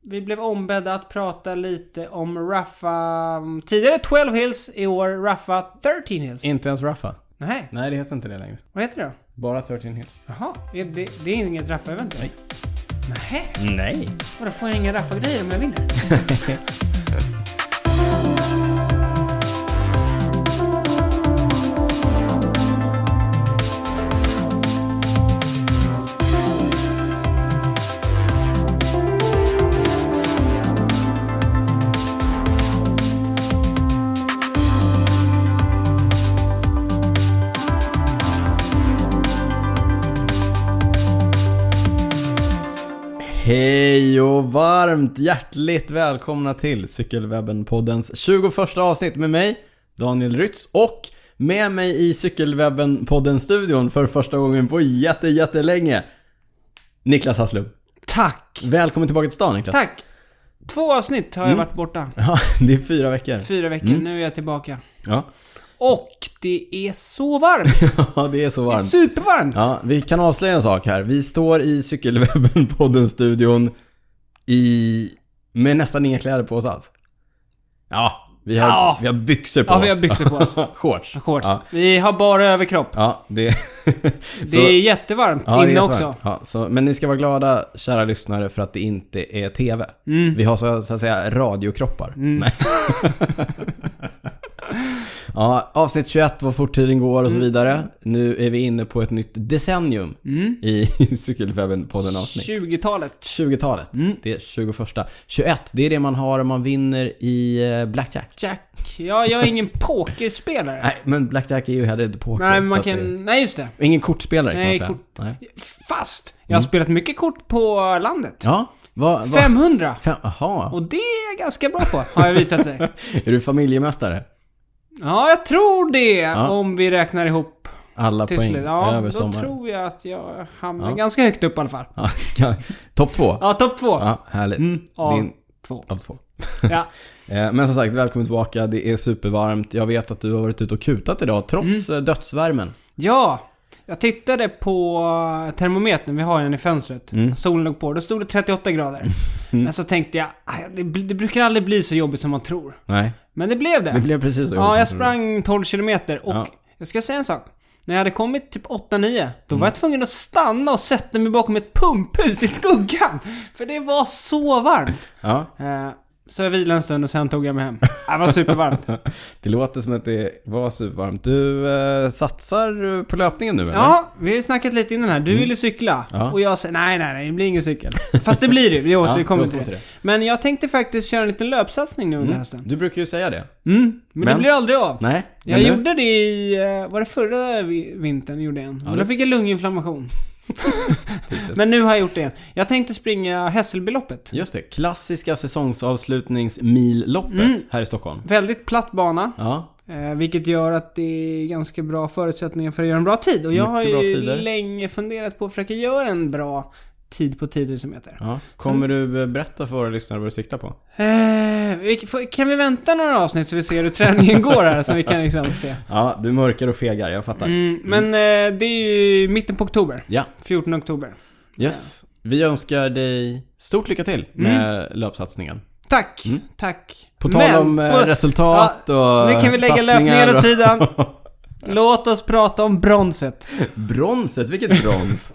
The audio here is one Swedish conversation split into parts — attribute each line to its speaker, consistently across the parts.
Speaker 1: Vi blev ombedda att prata lite om Raffa... Tidigare 12 Hills, i år Raffa 13 Hills.
Speaker 2: Inte ens Raffa.
Speaker 1: Nej,
Speaker 2: Nej, det heter inte det längre.
Speaker 1: vad heter det då?
Speaker 2: Bara 13 Hills.
Speaker 1: Jaha, är det, det är inget Raffa-event?
Speaker 2: Nej.
Speaker 1: Nej.
Speaker 2: Nej.
Speaker 1: Och då får jag inga Raffa-grejer om jag vinner?
Speaker 2: Hej och varmt hjärtligt välkomna till Cykelwebben-poddens 21 avsnitt med mig, Daniel Rytz och med mig i Cykelwebben-podden-studion för första gången på jätte, jättelänge, Niklas Hasslum.
Speaker 1: Tack!
Speaker 2: Välkommen tillbaka till stan Niklas.
Speaker 1: Tack! Två avsnitt har
Speaker 2: Mm.
Speaker 1: jag varit borta.
Speaker 2: Ja, det är fyra veckor.
Speaker 1: Fyra veckor,
Speaker 2: Mm.
Speaker 1: nu är jag tillbaka.
Speaker 2: Ja.
Speaker 1: Och det är så varmt!
Speaker 2: ja, det är så varmt.
Speaker 1: Supervarmt!
Speaker 2: Ja, vi kan avslöja en sak här. Vi står i Cykelwebben-podden-studion i... med nästan inga kläder på oss alls. Ja, vi har,
Speaker 1: Ja.
Speaker 2: Vi har byxor på
Speaker 1: Ja,
Speaker 2: oss.
Speaker 1: vi har byxor på oss.
Speaker 2: Shorts.
Speaker 1: Shorts.
Speaker 2: Ja,
Speaker 1: Vi har bara överkropp.
Speaker 2: ja det...
Speaker 1: Det är jättevarmt
Speaker 2: ja, det är
Speaker 1: inne
Speaker 2: jättevarmt.
Speaker 1: också.
Speaker 2: Ja, så, men ni ska vara glada, kära lyssnare, för att det inte är TV.
Speaker 1: Mm.
Speaker 2: Vi har så, så att säga radiokroppar. Nej. ja, avsnitt 21, vad fort tiden går och
Speaker 1: Mm.
Speaker 2: så vidare. Nu är vi inne på ett nytt decennium
Speaker 1: Mm.
Speaker 2: i cykelwebben på den avsnitt.
Speaker 1: 20-talet.
Speaker 2: 20-talet.
Speaker 1: Mm.
Speaker 2: Det är 21. 21, det är det man har om man vinner i eh, Blackjack.
Speaker 1: Jack. Ja, jag är ingen pokerspelare.
Speaker 2: Nej, men Blackjack är ju heller inte poker.
Speaker 1: Nej, men man
Speaker 2: så att
Speaker 1: kan... Nej, just det.
Speaker 2: Det... Ingen kortspelare
Speaker 1: Nej,
Speaker 2: kan man
Speaker 1: kort-
Speaker 2: säga. Nej.
Speaker 1: Fast, jag har spelat mycket kort på landet.
Speaker 2: Mm. Ja, vad... vad-
Speaker 1: 500.
Speaker 2: Fem... Jaha.
Speaker 1: Och det är jag ganska bra på, har jag visat sig.
Speaker 2: Är du familjemästare?
Speaker 1: Ja, jag tror det. Om vi räknar ihop
Speaker 2: Alla
Speaker 1: till
Speaker 2: poäng
Speaker 1: slut. Ja,
Speaker 2: över
Speaker 1: då
Speaker 2: sommaren.
Speaker 1: tror jag att jag hamnar ganska högt upp i alla fall.
Speaker 2: Ja, ja. Topp två?
Speaker 1: Ja, Mm, topp två.
Speaker 2: Ja, härligt.
Speaker 1: av
Speaker 2: Din...
Speaker 1: två.
Speaker 2: Av två.
Speaker 1: Ja.
Speaker 2: Eh, Men som sagt, välkommen tillbaka. Det är supervarmt. Jag vet att du har varit ute och kutat idag, trots
Speaker 1: Mm.
Speaker 2: eh, dödsvärmen.
Speaker 1: ja, jag tittade på termometern. Vi har ju en i fönstret.
Speaker 2: Mm.
Speaker 1: Solen låg på. Då stod det 38 grader. Men så tänkte jag, "Aj, det, bl- det brukar aldrig bli så jobbigt som man tror.
Speaker 2: Nej.
Speaker 1: Men det blev det.
Speaker 2: Det blev precis så
Speaker 1: ja, jag
Speaker 2: jobbigt som du
Speaker 1: sprang 12 kilometer och
Speaker 2: Ja.
Speaker 1: jag ska säga en sak. När jag hade kommit typ 8-9, då var jag tvungen att stanna och sätta mig bakom ett pumphus i skuggan. För det var så varmt.
Speaker 2: Ja.
Speaker 1: Eh, Så jag vilade en stund och sen tog jag mig hem. Det var supervarmt.
Speaker 2: Det låter som att det var supervarmt. Du eh, satsar eh, på löpningen nu eller?
Speaker 1: Ja, vi har ju snackat lite innan här. Du
Speaker 2: Mm.
Speaker 1: ville cykla. Och jag sa nej, nej, nej, det blir ingen cykel. Fast det blir det. Vi återkommer
Speaker 2: vi
Speaker 1: till
Speaker 2: återkommer
Speaker 1: det.
Speaker 2: till det.
Speaker 1: Men jag tänkte faktiskt köra en liten löpsatsning nu under hösten.
Speaker 2: Du brukar ju säga det.
Speaker 1: Mm, men, det
Speaker 2: Men-
Speaker 1: blir aldrig av.
Speaker 2: Nej.
Speaker 1: Jag
Speaker 2: men nu-
Speaker 1: gjorde det i... eh, Var det förra vi- vintern gjorde jag en? Då fick jag lunginflammation. Men nu har jag gjort det igen. Jag tänkte springa Hässelbyloppet.
Speaker 2: Just det. Klassiska säsongsavslutningsmilloppet
Speaker 1: Mm.
Speaker 2: här i Stockholm.
Speaker 1: Väldigt platt bana.
Speaker 2: Ja.
Speaker 1: eh, Vilket gör att det är ganska bra förutsättningar för att göra en bra tid. Och jag har
Speaker 2: Mycket bra
Speaker 1: ju
Speaker 2: tider.
Speaker 1: länge funderat på att försöka göra en bra tid på 10 000 meter.
Speaker 2: ja. Kommer du eh, berätta för våra lyssnare vad du siktar på?
Speaker 1: Eh, vi- får- kan vi vänta några avsnitt så vi ser hur träningen går här? Så vi kan liksom se.
Speaker 2: Ja, du mörkar och fegar. Jag fattar.
Speaker 1: Mm, men eh, det är ju mitten på oktober.
Speaker 2: Ja.
Speaker 1: 14 oktober.
Speaker 2: Yes. Vi önskar dig stort lycka till med
Speaker 1: Mm.
Speaker 2: löpsatsningen.
Speaker 1: Tack, tack.
Speaker 2: Mm. På tal om eh, resultat och
Speaker 1: Nu kan vi lägga
Speaker 2: satsningar
Speaker 1: löpningen
Speaker 2: och-
Speaker 1: åt sidan. Låt oss prata om bronset.
Speaker 2: Bronset, vilket brons?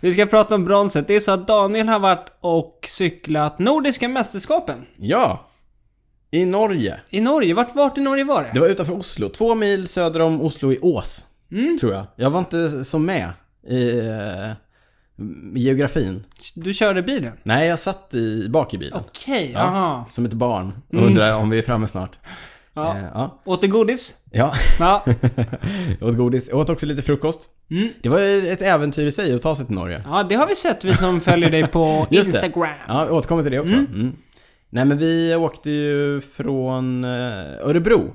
Speaker 1: Vi ska prata om bronset. Det är så att Daniel har varit och cyklat Nordiska mästerskapen.
Speaker 2: ja. I Norge.
Speaker 1: I Norge. Vart, vart i Norge var det?
Speaker 2: Det var utanför Oslo, två mil söder om Oslo i Ås.
Speaker 1: Mm.
Speaker 2: Tror jag. Jag var inte så med i eh, geografin.
Speaker 1: Du körde bilen?
Speaker 2: Nej, jag satt i, bak i bilen.
Speaker 1: Okej, aha. Mm.
Speaker 2: Som ett barn. Och undrade om vi är framme snart.
Speaker 1: Ja.
Speaker 2: Eh, ja.
Speaker 1: Åt du godis?
Speaker 2: ja.
Speaker 1: Ja.
Speaker 2: jag åt godis. Jag åt också lite frukost. Det var ju ett äventyr i sig att ta sig till Norge.
Speaker 1: ja, det har vi sett vi som följer dig på
Speaker 2: Just det.
Speaker 1: Instagram.
Speaker 2: Ja, vi återkommer till det också. Mm. Nej, men vi åkte ju från eh, Örebro.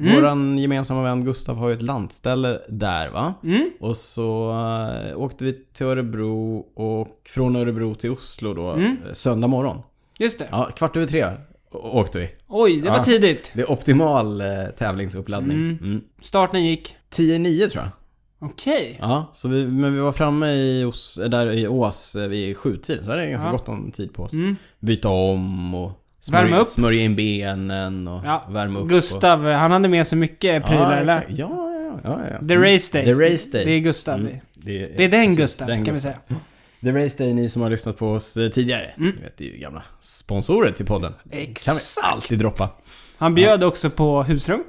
Speaker 2: Mm. Våran gemensamma vän Gustav har ju ett landställe där va? Och så eh, åkte vi till Örebro och från Örebro till Oslo då eh, söndag morgon.
Speaker 1: Just det.
Speaker 2: Ja, kvart över tre å- åkte vi.
Speaker 1: Oj, det var
Speaker 2: Ja.
Speaker 1: tidigt.
Speaker 2: Det är optimal eh, tävlingsuppladdning. Mm.
Speaker 1: Starten gick.
Speaker 2: 10-9 tror jag.
Speaker 1: Okej.
Speaker 2: Ja, så vi, men vi var framme i Os, där i Ås eh, vid sjutiden, så det är ganska
Speaker 1: Ja. Mm.
Speaker 2: gott om tid på oss. Byta om och
Speaker 1: Värma
Speaker 2: smörja,
Speaker 1: upp.
Speaker 2: smörja in benen och
Speaker 1: Ja,
Speaker 2: värma upp.
Speaker 1: Gustav, han hade med sig mycket
Speaker 2: och,
Speaker 1: prylar
Speaker 2: ja,
Speaker 1: eller?
Speaker 2: exakt. ja, ja, ja, ja.
Speaker 1: The
Speaker 2: Mm.
Speaker 1: Race Day.
Speaker 2: The Race Day.
Speaker 1: Det är Gustav.
Speaker 2: Det är,
Speaker 1: Det är den
Speaker 2: precis,
Speaker 1: Gustav, kan vi
Speaker 2: Gustav. Mm.
Speaker 1: säga. Mm.
Speaker 2: The Race Day, ni som har lyssnat på oss eh, tidigare. Ni vet, det är ju gamla sponsorer till podden. kan vi
Speaker 1: Exakt.
Speaker 2: alltid droppa.
Speaker 1: Han bjöd också på husrum.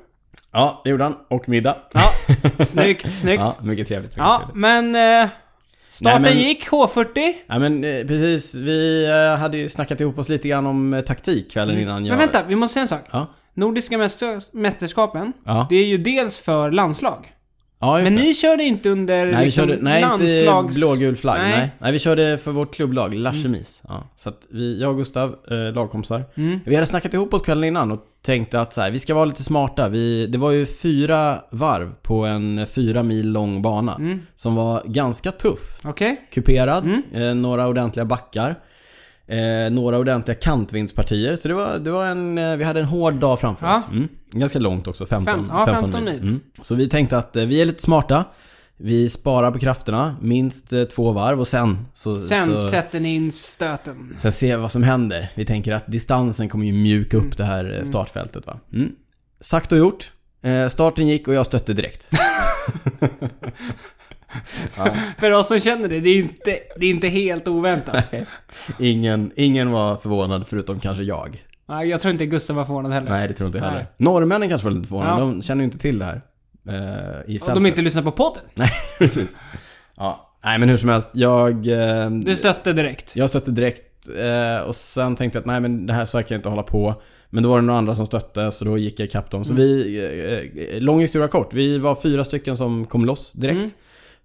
Speaker 2: Ja, det gjorde han. Och middag.
Speaker 1: Ja, snyggt, snyggt. Ja,
Speaker 2: Ja, mycket trevligt. Mycket trevligt.
Speaker 1: men... Eh, starten
Speaker 2: Nej, men-
Speaker 1: gick, H40.
Speaker 2: Ja men eh, precis, vi eh, hade ju snackat ihop oss lite grann om eh, taktik kvällen innan jag...
Speaker 1: Mm. Men vänta, vi måste säga en sak.
Speaker 2: Ja,
Speaker 1: Nordiska mäster- mästerskapen,
Speaker 2: Ja.
Speaker 1: det är ju dels för landslag.
Speaker 2: ja just
Speaker 1: Men
Speaker 2: det.
Speaker 1: ni körde inte under
Speaker 2: Nej, vi
Speaker 1: liksom,
Speaker 2: körde, nej
Speaker 1: landslags... Mm.
Speaker 2: inte blågul flagg. Nej. Nej. vi körde för vårt klubblag, Lachemis. Ja, så att vi, jag och Gustav, eh, lagkompisar,
Speaker 1: Mm.
Speaker 2: vi hade snackat ihop oss kvällen innan och tänkte att så här, vi ska vara lite smarta. Vi, det var ju fyra varv på en eh, fyra mil lång bana
Speaker 1: Mm.
Speaker 2: som var ganska tuff.
Speaker 1: Okej.
Speaker 2: kuperad,
Speaker 1: Mm.
Speaker 2: eh, några ordentliga backar, eh, några ordentliga kantvindspartier. Så det var, det var en, eh, vi hade en hård dag framför
Speaker 1: Ja.
Speaker 2: oss. Mm. Ganska långt också, 15,
Speaker 1: Fem- ja,
Speaker 2: 15,
Speaker 1: 15 mil.
Speaker 2: Mm. Så vi tänkte att eh, vi är lite smarta. Vi sparar på krafterna, minst eh, två varv och sen så...
Speaker 1: Sen
Speaker 2: så,
Speaker 1: sätter ni in stöten.
Speaker 2: sen ser vi vad som händer. Vi tänker att distansen kommer ju mjuka upp det här eh, startfältet va. Mm. Sagt och gjort. Eh, starten gick och jag stötte direkt.
Speaker 1: För oss som känner det, det är inte, det är inte helt oväntat.
Speaker 2: ingen, ingen var förvånad förutom kanske jag.
Speaker 1: Nej, jag tror inte Gustav var förvånad heller.
Speaker 2: Nej, det tror inte jag heller.
Speaker 1: Nej.
Speaker 2: Norrmännen kanske var lite förvånade.
Speaker 1: Ja.
Speaker 2: De känner ju inte till det här. eh, I
Speaker 1: Och
Speaker 2: fältet.
Speaker 1: de inte lyssnar på podden.
Speaker 2: Nej, precis. Ja. Nej, men hur som helst. Jag, eh,
Speaker 1: Du stötte direkt.
Speaker 2: jag stötte direkt eh, och sen tänkte jag att nej, men det här så här kan jag inte hålla på. Men då var det några andra som stötte, så då gick jag ikapp dem. Så
Speaker 1: Mm.
Speaker 2: vi, eh, eh, lång historia kort. Vi var fyra stycken som kom loss direkt.
Speaker 1: Mm.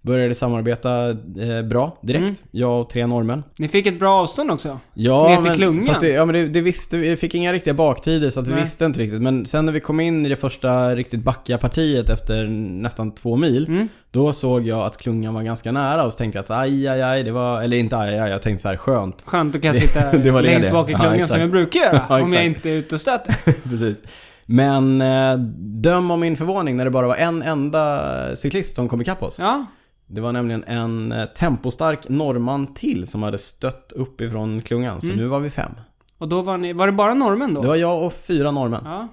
Speaker 2: Började samarbeta eh, bra direkt. Jag och tre norrmän.
Speaker 1: Ni fick ett bra avstånd också. Ner
Speaker 2: Ja,
Speaker 1: till
Speaker 2: men,
Speaker 1: klungan.
Speaker 2: fast det, ja, men det, det visste vi. Vi fick inga riktiga baktider så att vi
Speaker 1: Nej.
Speaker 2: visste inte riktigt. Men sen när vi kom in i det första riktigt backiga partiet efter nästan två mil.
Speaker 1: Mm.
Speaker 2: Då såg jag att klungan var ganska nära och så tänkte jag att aj, aj, aj, det var... Eller inte aj, aj, aj, jag tänkte så här skönt.
Speaker 1: Skönt att kanske sitta
Speaker 2: Det var det
Speaker 1: längst
Speaker 2: det.
Speaker 1: bak i
Speaker 2: Ja,
Speaker 1: klungan
Speaker 2: exakt.
Speaker 1: som jag brukar göra.
Speaker 2: Ja,
Speaker 1: om jag
Speaker 2: exakt.
Speaker 1: inte är ute och stöter.
Speaker 2: Precis. Men eh, döm om min förvåning när det bara var en enda cyklist som kom ikapp oss.
Speaker 1: Ja,
Speaker 2: Det var nämligen en eh, tempostark norrman till som hade stött upp ifrån klungan.
Speaker 1: Mm.
Speaker 2: Så nu var vi fem.
Speaker 1: och då var ni... Var det bara norrmän då?
Speaker 2: Det var jag och fyra norrmän.
Speaker 1: Ja.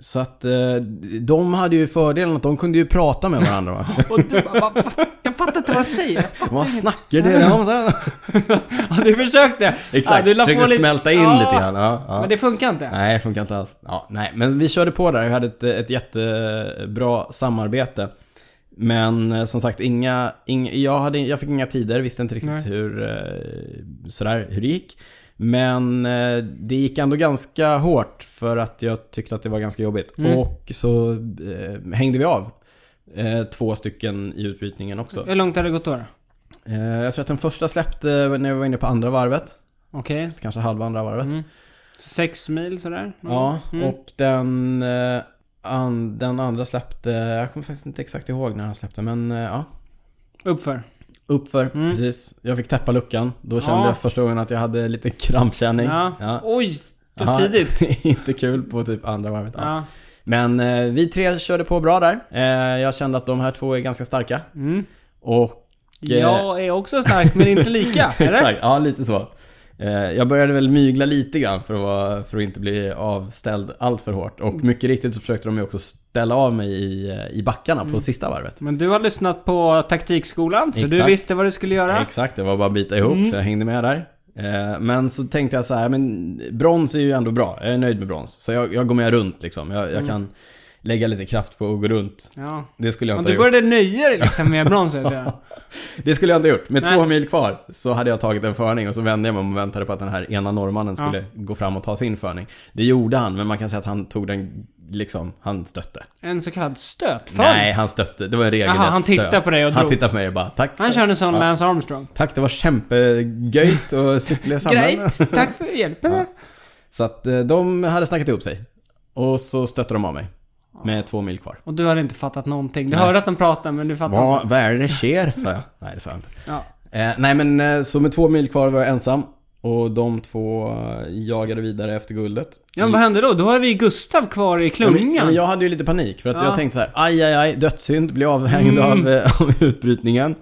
Speaker 2: Så att eh, de hade ju fördelen att de kunde ju prata med varandra va?
Speaker 1: Och du bara, "Va, fa- jag fattar inte vad jag säger. Jag fattar
Speaker 2: Vad
Speaker 1: inget."
Speaker 2: snackar det om? Så här.
Speaker 1: Ja, du försökte. Ja,
Speaker 2: Exakt,
Speaker 1: du la på
Speaker 2: försökte
Speaker 1: lite-
Speaker 2: smälta in
Speaker 1: Ja,
Speaker 2: lite grann. Ja, ja.
Speaker 1: Men det funkar inte.
Speaker 2: Nej, funkar inte alls. Ja, nej, men vi körde på där. Vi hade ett, ett jättebra samarbete. Men eh, som sagt, inga, inga, jag, hade, jag fick inga tider. Visste inte riktigt
Speaker 1: Nej.
Speaker 2: hur, eh, sådär, hur det gick. Men eh, det gick ändå ganska hårt för att jag tyckte att det var ganska jobbigt. Och så eh, hängde vi av eh, två stycken i utbrytningen också.
Speaker 1: Hur långt har det gått då? då?
Speaker 2: Eh, jag tror att den första släppte när vi var inne på andra varvet.
Speaker 1: Okej,
Speaker 2: Kanske halva andra varvet.
Speaker 1: så sex mil sådär. Mm.
Speaker 2: Ja, och den, eh, an, den andra släppte, jag kommer faktiskt inte exakt ihåg när han släppte men eh, ja.
Speaker 1: Uppför.
Speaker 2: Uppför, precis. Jag fick täppa luckan. Då kände
Speaker 1: Mm. Ja.
Speaker 2: jag första gången att jag hade lite krampkänning.
Speaker 1: Ja.
Speaker 2: Ja.
Speaker 1: Oj, så
Speaker 2: Ja,
Speaker 1: tidigt.
Speaker 2: inte kul på typ andra varvet. Ja.
Speaker 1: Ja.
Speaker 2: Men eh, vi tre körde på bra där. Eh, jag kände att de här två är ganska starka.
Speaker 1: Mm.
Speaker 2: Och... eh,
Speaker 1: Jag är också stark, men inte lika. Eller?
Speaker 2: Exakt, ja lite så. Eh, Jag började väl mygla lite grann för att, vara, för att inte bli avställd allt för hårt. Och
Speaker 1: Mm.
Speaker 2: mycket riktigt så försökte de ju också ställa av mig i, eh, i backarna på
Speaker 1: Mm.
Speaker 2: sista varvet.
Speaker 1: Men du har lyssnat på taktikskolan, så du
Speaker 2: Exakt.
Speaker 1: visste vad du skulle göra.
Speaker 2: Exakt, det var bara att bita ihop
Speaker 1: Mm.
Speaker 2: så jag hängde med där. Eh, Men så tänkte jag så här, men brons är ju ändå bra. Jag är nöjd med brons. Så jag, jag går med runt liksom. Jag,
Speaker 1: Mm.
Speaker 2: jag kan lägga lite kraft på att gå runt.
Speaker 1: Ja.
Speaker 2: Det skulle jag
Speaker 1: Men
Speaker 2: inte ha
Speaker 1: du
Speaker 2: gjort.
Speaker 1: började nöja dig liksom med bronset redan.
Speaker 2: Det skulle jag inte ha gjort. Med
Speaker 1: Nej.
Speaker 2: två mil kvar så hade jag tagit en förning och så vände jag mig om och väntade på att den här ena norrmannen skulle gå fram och ta sin förning. Det gjorde han, men man kan säga att han tog den liksom, han stötte.
Speaker 1: En så kallad stötfall.
Speaker 2: Nej, han stötte. Det var en regelrätt
Speaker 1: Jaha, han tittade
Speaker 2: stöt.
Speaker 1: på dig och
Speaker 2: Han
Speaker 1: drog.
Speaker 2: tittade på mig och bara tack.
Speaker 1: Han
Speaker 2: för-
Speaker 1: körde som Lance Armstrong.
Speaker 2: Tack, det var kämpegöjt och cykla i samhället.
Speaker 1: Grejt, tack för hjälpen.
Speaker 2: Så att eh, de hade snackat ihop sig. Och så stötte de av mig. Med två mil kvar.
Speaker 1: Och du hade inte fattat någonting. Du hörde att de pratade, men du fattade inte.
Speaker 2: Vad, vad är det sker? sa jag. Nej, det sa jag inte.
Speaker 1: Ja.
Speaker 2: Eh, nej men eh, så med två mil kvar var jag ensam. Och de två eh, jagade vidare efter guldet.
Speaker 1: Ja, men vad hände då? Då har vi Gustav kvar i klungan.
Speaker 2: Ja, men jag hade ju lite panik för att
Speaker 1: Ja. Mm.
Speaker 2: jag tänkte så här: aj, aj, aj, dödssynd, bli avhängd av, eh, av utbrytningen.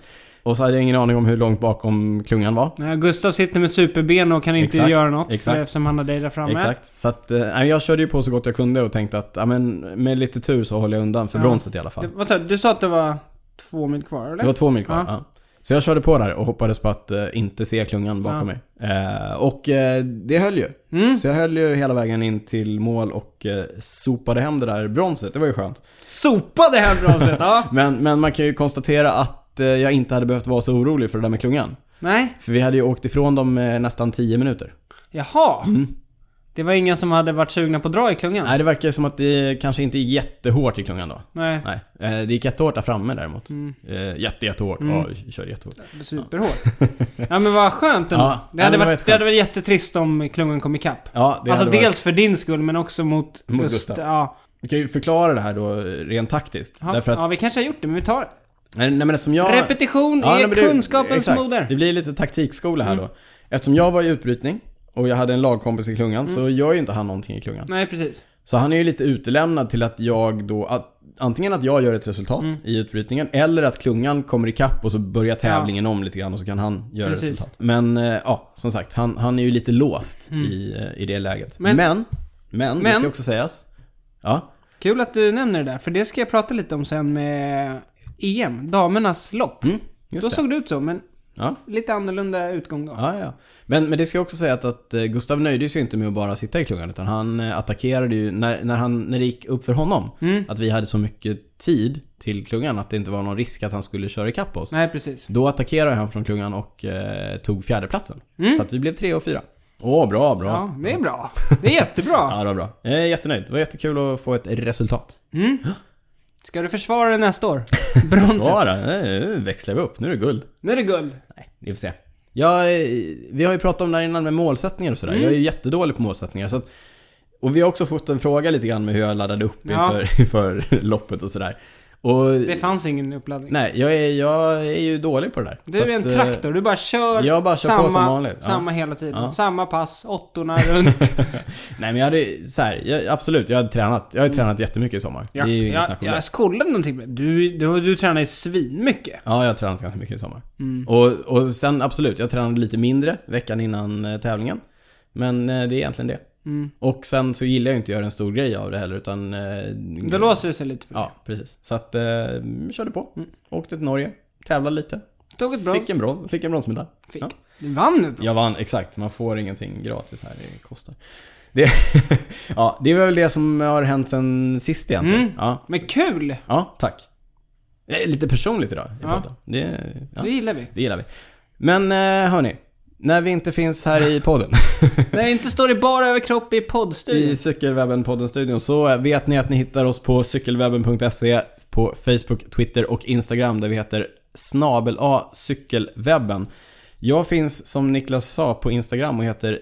Speaker 2: Och så hade jag ingen aning om hur långt bakom klungan var.
Speaker 1: Nej, Gustav sitter med superben och kan inte
Speaker 2: Exakt,
Speaker 1: göra något
Speaker 2: exakt.
Speaker 1: eftersom han har dig där framme.
Speaker 2: Exakt. Så att, eh, nej, jag körde ju på så gott jag kunde och tänkte att, ja men med lite tur så håller jag undan för
Speaker 1: Ja.
Speaker 2: bronset i alla fall.
Speaker 1: Det, vad sa du? Du sa att det var två mil kvar, eller?
Speaker 2: Det var två mil kvar.
Speaker 1: Ja.
Speaker 2: Ja. Så jag körde på där och hoppades på att eh, inte se klungan bakom
Speaker 1: Ja.
Speaker 2: mig. Eh, och eh, det höll ju.
Speaker 1: Mm.
Speaker 2: Så jag höll ju hela vägen in till mål och eh, sopade hem det där bronset. Det var ju skönt.
Speaker 1: Sopade här bronset, ja.
Speaker 2: Men, men man kan ju konstatera att eh, jag inte hade behövt vara så orolig för det där med klungan.
Speaker 1: Nej,
Speaker 2: För vi hade ju åkt ifrån dem eh, nästan 10 minuter.
Speaker 1: jaha. Det var ingen som hade varit sugna på att dra i klungan?
Speaker 2: Mm. Nej, det verkar ju som att det kanske inte är jättehårt i klungan då.
Speaker 1: Nej.
Speaker 2: Nej, eh, det gick jättehårt där framme däremot.
Speaker 1: Mm.
Speaker 2: Eh, Jätte, jättehårt. Ja, vi kör jättehårt.
Speaker 1: Superhårt. Ja men vad skönt ändå.
Speaker 2: Ja,
Speaker 1: det,
Speaker 2: ja,
Speaker 1: hade
Speaker 2: men det var
Speaker 1: varit,
Speaker 2: rätt
Speaker 1: det hade
Speaker 2: skönt.
Speaker 1: varit jättetrist om klungan kom ikapp.
Speaker 2: Ja, det
Speaker 1: alltså
Speaker 2: hade varit-
Speaker 1: dels för din skull men också mot,
Speaker 2: Mot
Speaker 1: Gust-
Speaker 2: Gustav.
Speaker 1: Ja.
Speaker 2: Vi kan ju förklara det här då eh, rent taktiskt.
Speaker 1: Ja,
Speaker 2: Därför att
Speaker 1: ja, vi kanske har gjort det men vi tar det.
Speaker 2: Nej, nej men eftersom jag...
Speaker 1: Repetition är
Speaker 2: nej, men det-
Speaker 1: kunskapens
Speaker 2: exakt.
Speaker 1: moder. Mm.
Speaker 2: Det blir lite taktikskola här då. Eftersom jag var i utbrytning och jag hade en lagkompis i klungan
Speaker 1: Mm.
Speaker 2: så gör ju inte han någonting i klungan.
Speaker 1: Nej precis.
Speaker 2: Så han är ju lite utelämnad till att jag då... Att, antingen att jag gör ett resultat
Speaker 1: Mm.
Speaker 2: i utbrytningen eller att klungan kommer ikapp och så börjar tävlingen om lite grann och så kan han göra
Speaker 1: Precis.
Speaker 2: resultat. Men eh, ja, som sagt. Han, han är ju lite låst i, eh, i det läget.
Speaker 1: Mm. Men-
Speaker 2: Men, men, men, det
Speaker 1: Men-
Speaker 2: ska också sägas. Ja,
Speaker 1: Kul att du nämner det där för det ska jag prata lite om sen med EM, damernas lopp.
Speaker 2: Mm, just
Speaker 1: då
Speaker 2: det.
Speaker 1: såg det ut så men
Speaker 2: Ja.
Speaker 1: lite annorlunda utgång då.
Speaker 2: Ja, ja. Men, men det ska jag också säga att, att eh, Gustav nöjde sig inte med att bara sitta i klungan utan han eh, attackerade ju när, när, han, när det gick upp för honom att vi hade så mycket tid till klungan att det inte var någon risk att han skulle köra ikapp oss.
Speaker 1: Nej precis.
Speaker 2: Då attackerade han från klungan och eh, tog fjärdeplatsen. Så att vi blev tre och fyra. Åh, bra, bra. Ja.
Speaker 1: Ja, det är bra. Det är jättebra.
Speaker 2: det var bra. Jag är jättenöjd. Det var jättekul att få ett resultat.
Speaker 1: Ska du försvara det nästa år? Bronset.
Speaker 2: Bara, eh, nu växlar vi upp. Nu är det guld.
Speaker 1: Nu är det guld.
Speaker 2: Nej, vi får se. Jag, är- vi har ju pratat om det här innan med målsättningar och sådär. Jag är
Speaker 1: Mm.
Speaker 2: ju jättedålig på målsättningar. Så att, och vi har också fått en fråga lite grann med hur jag laddade upp
Speaker 1: Ja.
Speaker 2: inför, inför loppet och sådär. Och
Speaker 1: Det fanns ingen uppladdning.
Speaker 2: nej, jag är, jag är ju dålig på det där.
Speaker 1: Du är en
Speaker 2: att, eh,
Speaker 1: traktor, du bara kör,
Speaker 2: jag bara kör på
Speaker 1: samma,
Speaker 2: som vanligt. Ja.
Speaker 1: samma hela tiden. Samma pass, åttorna runt.
Speaker 2: Nej men jag hade, så här, jag, absolut, jag har tränat, jag har tränat jättemycket i sommar. Det är ju inget
Speaker 1: jag,
Speaker 2: snack om det.
Speaker 1: jag kollade någonting med du, du, du tränar ju svinmycket.
Speaker 2: Ja, jag har tränat ganska mycket i sommar.
Speaker 1: Mm.
Speaker 2: Och, och sen absolut, jag tränade lite mindre veckan innan eh, tävlingen. Men eh, det är egentligen det.
Speaker 1: Mm.
Speaker 2: Och sen så gillar jag ju inte att göra en stor grej av det heller utan... eh,
Speaker 1: Då låser det sig lite för
Speaker 2: Ja, precis. Så att, eh, körde på. Åkte till Norge, tävlade lite.
Speaker 1: det. Tog ett Mm. bra.
Speaker 2: Fick en, brons, fick en bronsmedalj.
Speaker 1: Fick.
Speaker 2: Ja.
Speaker 1: Du vann ett bra.
Speaker 2: Jag vann, exakt. Man får ingenting gratis här, det kostar. Det, ja, det är väl det som har hänt sen sist egentligen.
Speaker 1: Mm.
Speaker 2: Ja,
Speaker 1: Men kul!
Speaker 2: ja, tack. Eh, Lite personligt idag i
Speaker 1: Ja.
Speaker 2: podden. Det, ja.
Speaker 1: Det gillar vi.
Speaker 2: Det gillar vi. Men eh, hörni, när vi inte finns här i podden,
Speaker 1: När jag inte står i bara överkropp i poddstudion.
Speaker 2: i Cykelwebben-podden-studion, så vet ni att ni hittar oss på cykelwebben.se, på Facebook, Twitter och Instagram där vi heter snabel-a cykelwebben. Jag finns som Niklas sa på Instagram och heter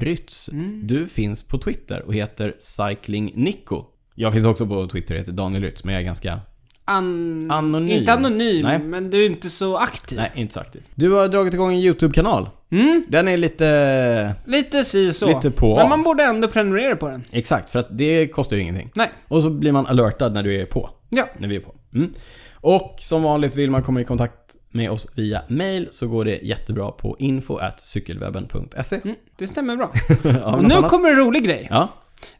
Speaker 2: drytz.
Speaker 1: Mm.
Speaker 2: Du finns på Twitter och heter cyclingnico. Jag finns också på Twitter och heter Daniel Rytz, men jag är ganska...
Speaker 1: An...
Speaker 2: Anonym.
Speaker 1: Inte anonym,
Speaker 2: Nej.
Speaker 1: men du är inte så aktiv.
Speaker 2: Nej, inte så aktiv. Du har dragit igång en YouTube-kanal.
Speaker 1: Mm.
Speaker 2: Den är lite...
Speaker 1: Lite si så.
Speaker 2: Lite på.
Speaker 1: Men man borde ändå prenumerera på den.
Speaker 2: Exakt, för att det kostar ju ingenting.
Speaker 1: Nej.
Speaker 2: Och så blir man alertad när du är på.
Speaker 1: Ja.
Speaker 2: När vi är på. Mm. Och som vanligt vill man komma i kontakt med oss via mail så går det jättebra på info cykelwebben.se.
Speaker 1: Det stämmer bra.
Speaker 2: Ja,
Speaker 1: Och
Speaker 2: men något
Speaker 1: nu
Speaker 2: annat?
Speaker 1: kommer en rolig grej.
Speaker 2: ja.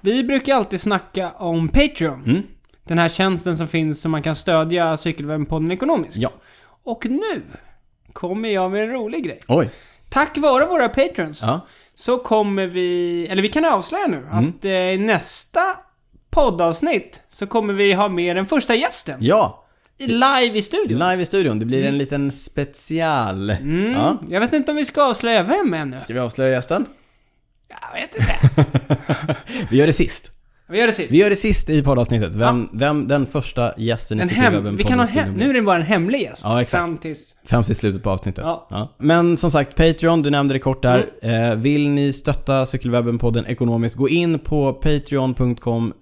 Speaker 1: Vi brukar alltid snacka om Patreon.
Speaker 2: Mm.
Speaker 1: Den här tjänsten som finns som man kan stödja Cykelwebben-podden ekonomiskt.
Speaker 2: ja.
Speaker 1: Och nu kommer jag med en rolig grej.
Speaker 2: Oj.
Speaker 1: Tack vare våra patrons
Speaker 2: Ja. Mm.
Speaker 1: så kommer vi, eller vi kan avslöja nu, att eh, i nästa poddavsnitt så kommer vi ha med den första gästen.
Speaker 2: Ja.
Speaker 1: i- Live i studion.
Speaker 2: Live i studion. Det
Speaker 1: Mm.
Speaker 2: blir en liten special. Ja.
Speaker 1: Jag vet inte om vi ska avslöja vem ännu.
Speaker 2: Ska vi avslöja gästen?
Speaker 1: Jag vet inte.
Speaker 2: Vi gör det sist.
Speaker 1: Vi gör det sist.
Speaker 2: Vi gör det sist i poddavsnittet. Vem, vem den första gästen i
Speaker 1: en hem,
Speaker 2: cykelwebben
Speaker 1: vi kan ha en hem, nu är det bara en hemlig gäst.
Speaker 2: Ja, exakt.
Speaker 1: Fram tills...
Speaker 2: Fram till slutet på avsnittet.
Speaker 1: Ja. Mm.
Speaker 2: Men som sagt, Patreon, du nämnde det kort där. Eh, vill ni stötta Cykelwebben-podden ekonomiskt, gå in på
Speaker 1: Mm.
Speaker 2: patreon.com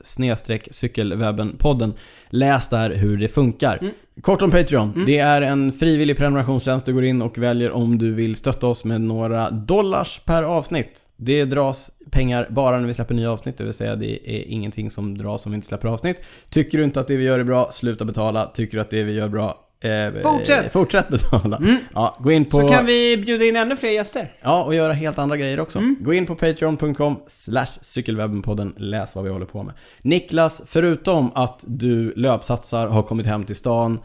Speaker 2: cykelwebbenpodden. Läs där hur det funkar. Kort om Patreon. Det är en frivillig prenumerationstjänst du går in och väljer om du vill stötta oss med några dollars per avsnitt. Det dras pengar bara när vi släpper nya avsnitt, det vill säga det är ingenting som dras om vi inte släpper avsnitt. Tycker du inte att det vi gör är bra, sluta betala. Tycker du att det vi gör är bra, eh,
Speaker 1: Fortsätt!
Speaker 2: eh, Fortsätt betala. Ja, gå in på...
Speaker 1: Mm. Så kan vi bjuda in ännu fler gäster.
Speaker 2: Ja, och göra helt andra grejer också.
Speaker 1: Mm.
Speaker 2: Gå in på patreon.com slash cykelwebbenpodden, läs vad vi håller på med. Niklas, förutom att du löpsatsar, har kommit hem till stan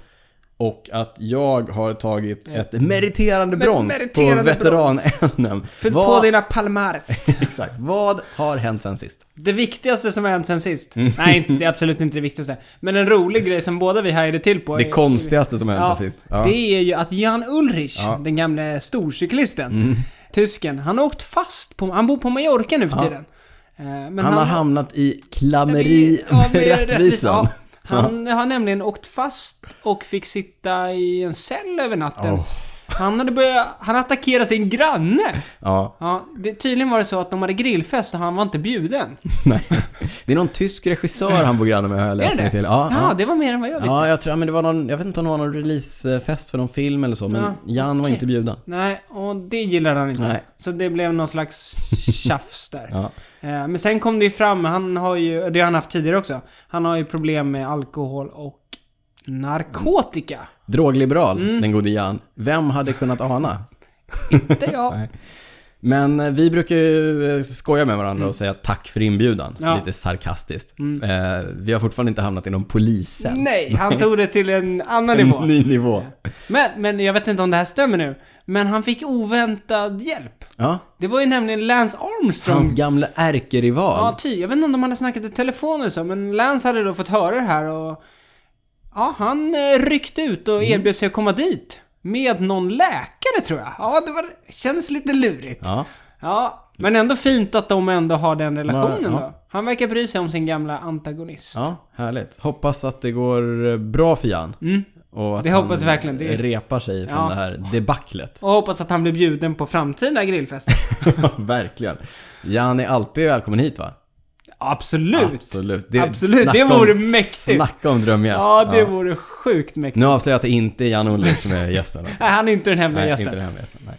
Speaker 2: och att jag har tagit ett meriterande brons
Speaker 1: Mm. meriterande
Speaker 2: på veteran-NM.
Speaker 1: Fyll på dina palmares.
Speaker 2: Exakt. Vad har hänt sen sist?
Speaker 1: Det viktigaste som har hänt sen sist.
Speaker 2: Mm.
Speaker 1: Nej, inte- det är absolut inte det viktigaste. Men en rolig grej som båda vi hajade till på.
Speaker 2: Det
Speaker 1: är-
Speaker 2: konstigaste som har hänt
Speaker 1: ja,
Speaker 2: sen sist. Ja.
Speaker 1: Det är ju att Jan Ulrich, den gamle storcyklisten,
Speaker 2: Mm.
Speaker 1: tysken, han har åkt fast på... Han bor på Mallorca nu för tiden. Eh, Men
Speaker 2: Han har hamnat i klammeri
Speaker 1: Vi- ja,
Speaker 2: med
Speaker 1: vi-
Speaker 2: rättvisan.
Speaker 1: ja. Han har nämligen åkt fast och fick sitta i en cell över natten.
Speaker 2: Åh.
Speaker 1: Han hade börjat... Han attackerade sin granne.
Speaker 2: Ja,
Speaker 1: Ja, det, tydligen var det så att de hade grillfest och han var inte bjuden.
Speaker 2: nej. Det är någon tysk regissör han bor granne med har jag läst
Speaker 1: Är det
Speaker 2: mig
Speaker 1: det?
Speaker 2: till. Ja, ja.
Speaker 1: det var mer än vad jag visste.
Speaker 2: Ja, jag tror, ja, men det var någon, jag vet inte om det var någon releasefest för någon film eller så, men
Speaker 1: Ja,
Speaker 2: Jan var
Speaker 1: okej.
Speaker 2: inte bjuden.
Speaker 1: Nej, och det gillade han inte.
Speaker 2: Nej.
Speaker 1: Så det blev någon slags tjafs där.
Speaker 2: Ja.
Speaker 1: Eh, Men sen kom det ju fram, han har ju, det har han haft tidigare också, han har ju problem med alkohol och narkotika.
Speaker 2: Drogliberal,
Speaker 1: Mm.
Speaker 2: den gode Jan. Vem hade kunnat ana?
Speaker 1: Inte jag.
Speaker 2: Men eh, vi brukar ju eh, skoja med varandra och säga tack för inbjudan.
Speaker 1: Mm. Ja. Mm.
Speaker 2: Lite sarkastiskt. Eh, vi har fortfarande inte hamnat inom polisen.
Speaker 1: Nej, han tog det till en annan nivå.
Speaker 2: En ny nivå.
Speaker 1: Men, men jag vet inte om det här stämmer nu, men han fick oväntad hjälp.
Speaker 2: Ja.
Speaker 1: Det var ju nämligen Lance Armstrong.
Speaker 2: Hans gamla ärkerival.
Speaker 1: Ja, ty. Jag vet inte om de hade snackat i telefon eller så, men Lance hade då fått höra det här och... Ja, han eh, ryckte ut
Speaker 2: Mm.
Speaker 1: och erbjöd sig att komma dit. Med någon läkare, tror jag. Ja, det var, känns lite lurigt.
Speaker 2: Ja.
Speaker 1: Ja, men ändå fint att de ändå har den relationen
Speaker 2: Ja, ja.
Speaker 1: då. Han verkar bry sig om sin gamla antagonist.
Speaker 2: ja, härligt. Hoppas att det går eh, bra för Jan. Och att
Speaker 1: Mm. Det hoppas
Speaker 2: han
Speaker 1: jag verkligen. Det-
Speaker 2: repar sig från
Speaker 1: Ja.
Speaker 2: det här debaclet.
Speaker 1: Och hoppas att han blir bjuden på framtida grillfester.
Speaker 2: Ja, Verkligen. Jan är alltid välkommen hit va?
Speaker 1: Absolut!
Speaker 2: Absolut.
Speaker 1: Absolut,
Speaker 2: snacka
Speaker 1: det vore
Speaker 2: om,
Speaker 1: mäktigt.
Speaker 2: Snacka om drömgäst.
Speaker 1: Ja, det vore sjukt mäktigt.
Speaker 2: Nu avslöjar jag att det inte är Jan Ulrich som är gästen. Alltså.
Speaker 1: Nej, han är inte den hemliga
Speaker 2: Nej,
Speaker 1: gästen.
Speaker 2: inte den här gästen. Nej.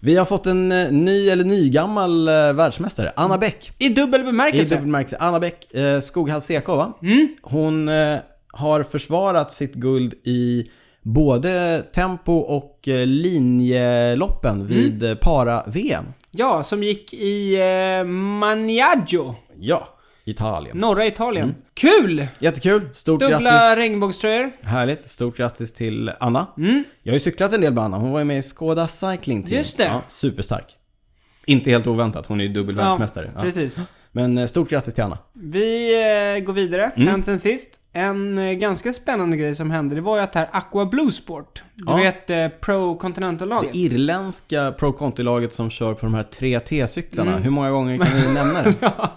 Speaker 2: Vi har fått en eh, ny, eller nygammal, eh, världsmästare. Anna Bäck.
Speaker 1: I dubbel
Speaker 2: I
Speaker 1: bemärkelse.
Speaker 2: dubbelmärkelse. Anna Bäck, eh, Skoghall CK va?
Speaker 1: Mm.
Speaker 2: Hon eh, har försvarat sitt guld i både tempo och eh, linjeloppen
Speaker 1: Mm.
Speaker 2: vid eh, para-VM.
Speaker 1: Ja, som gick i eh, Maniaggio,
Speaker 2: Ja, Italien.
Speaker 1: norra Italien. Kul!
Speaker 2: Jättekul. Stort
Speaker 1: Dubbla
Speaker 2: Mm. grattis.
Speaker 1: regnbågströjor.
Speaker 2: Härligt. Stort grattis till Anna. Jag har ju cyklat en del med Anna. Hon var ju med i Skoda Cycling Team.
Speaker 1: Mm. Just det.
Speaker 2: Ja, superstark. Inte helt oväntat. Hon är ju dubbel världsmästare. Ja.
Speaker 1: precis.
Speaker 2: Men eh, stort grattis till Anna.
Speaker 1: Vi eh, går vidare.
Speaker 2: Mm.
Speaker 1: Hänt sen sist. En eh, ganska spännande grej som hände, det var ju att här Aqua Blue Sport, du vet eh, Pro Continental-laget.
Speaker 2: Irländska Pro Conti-laget som kör på de här 3T-cyklarna.
Speaker 1: Mm.
Speaker 2: Hur många gånger kan vi nämna det? ja.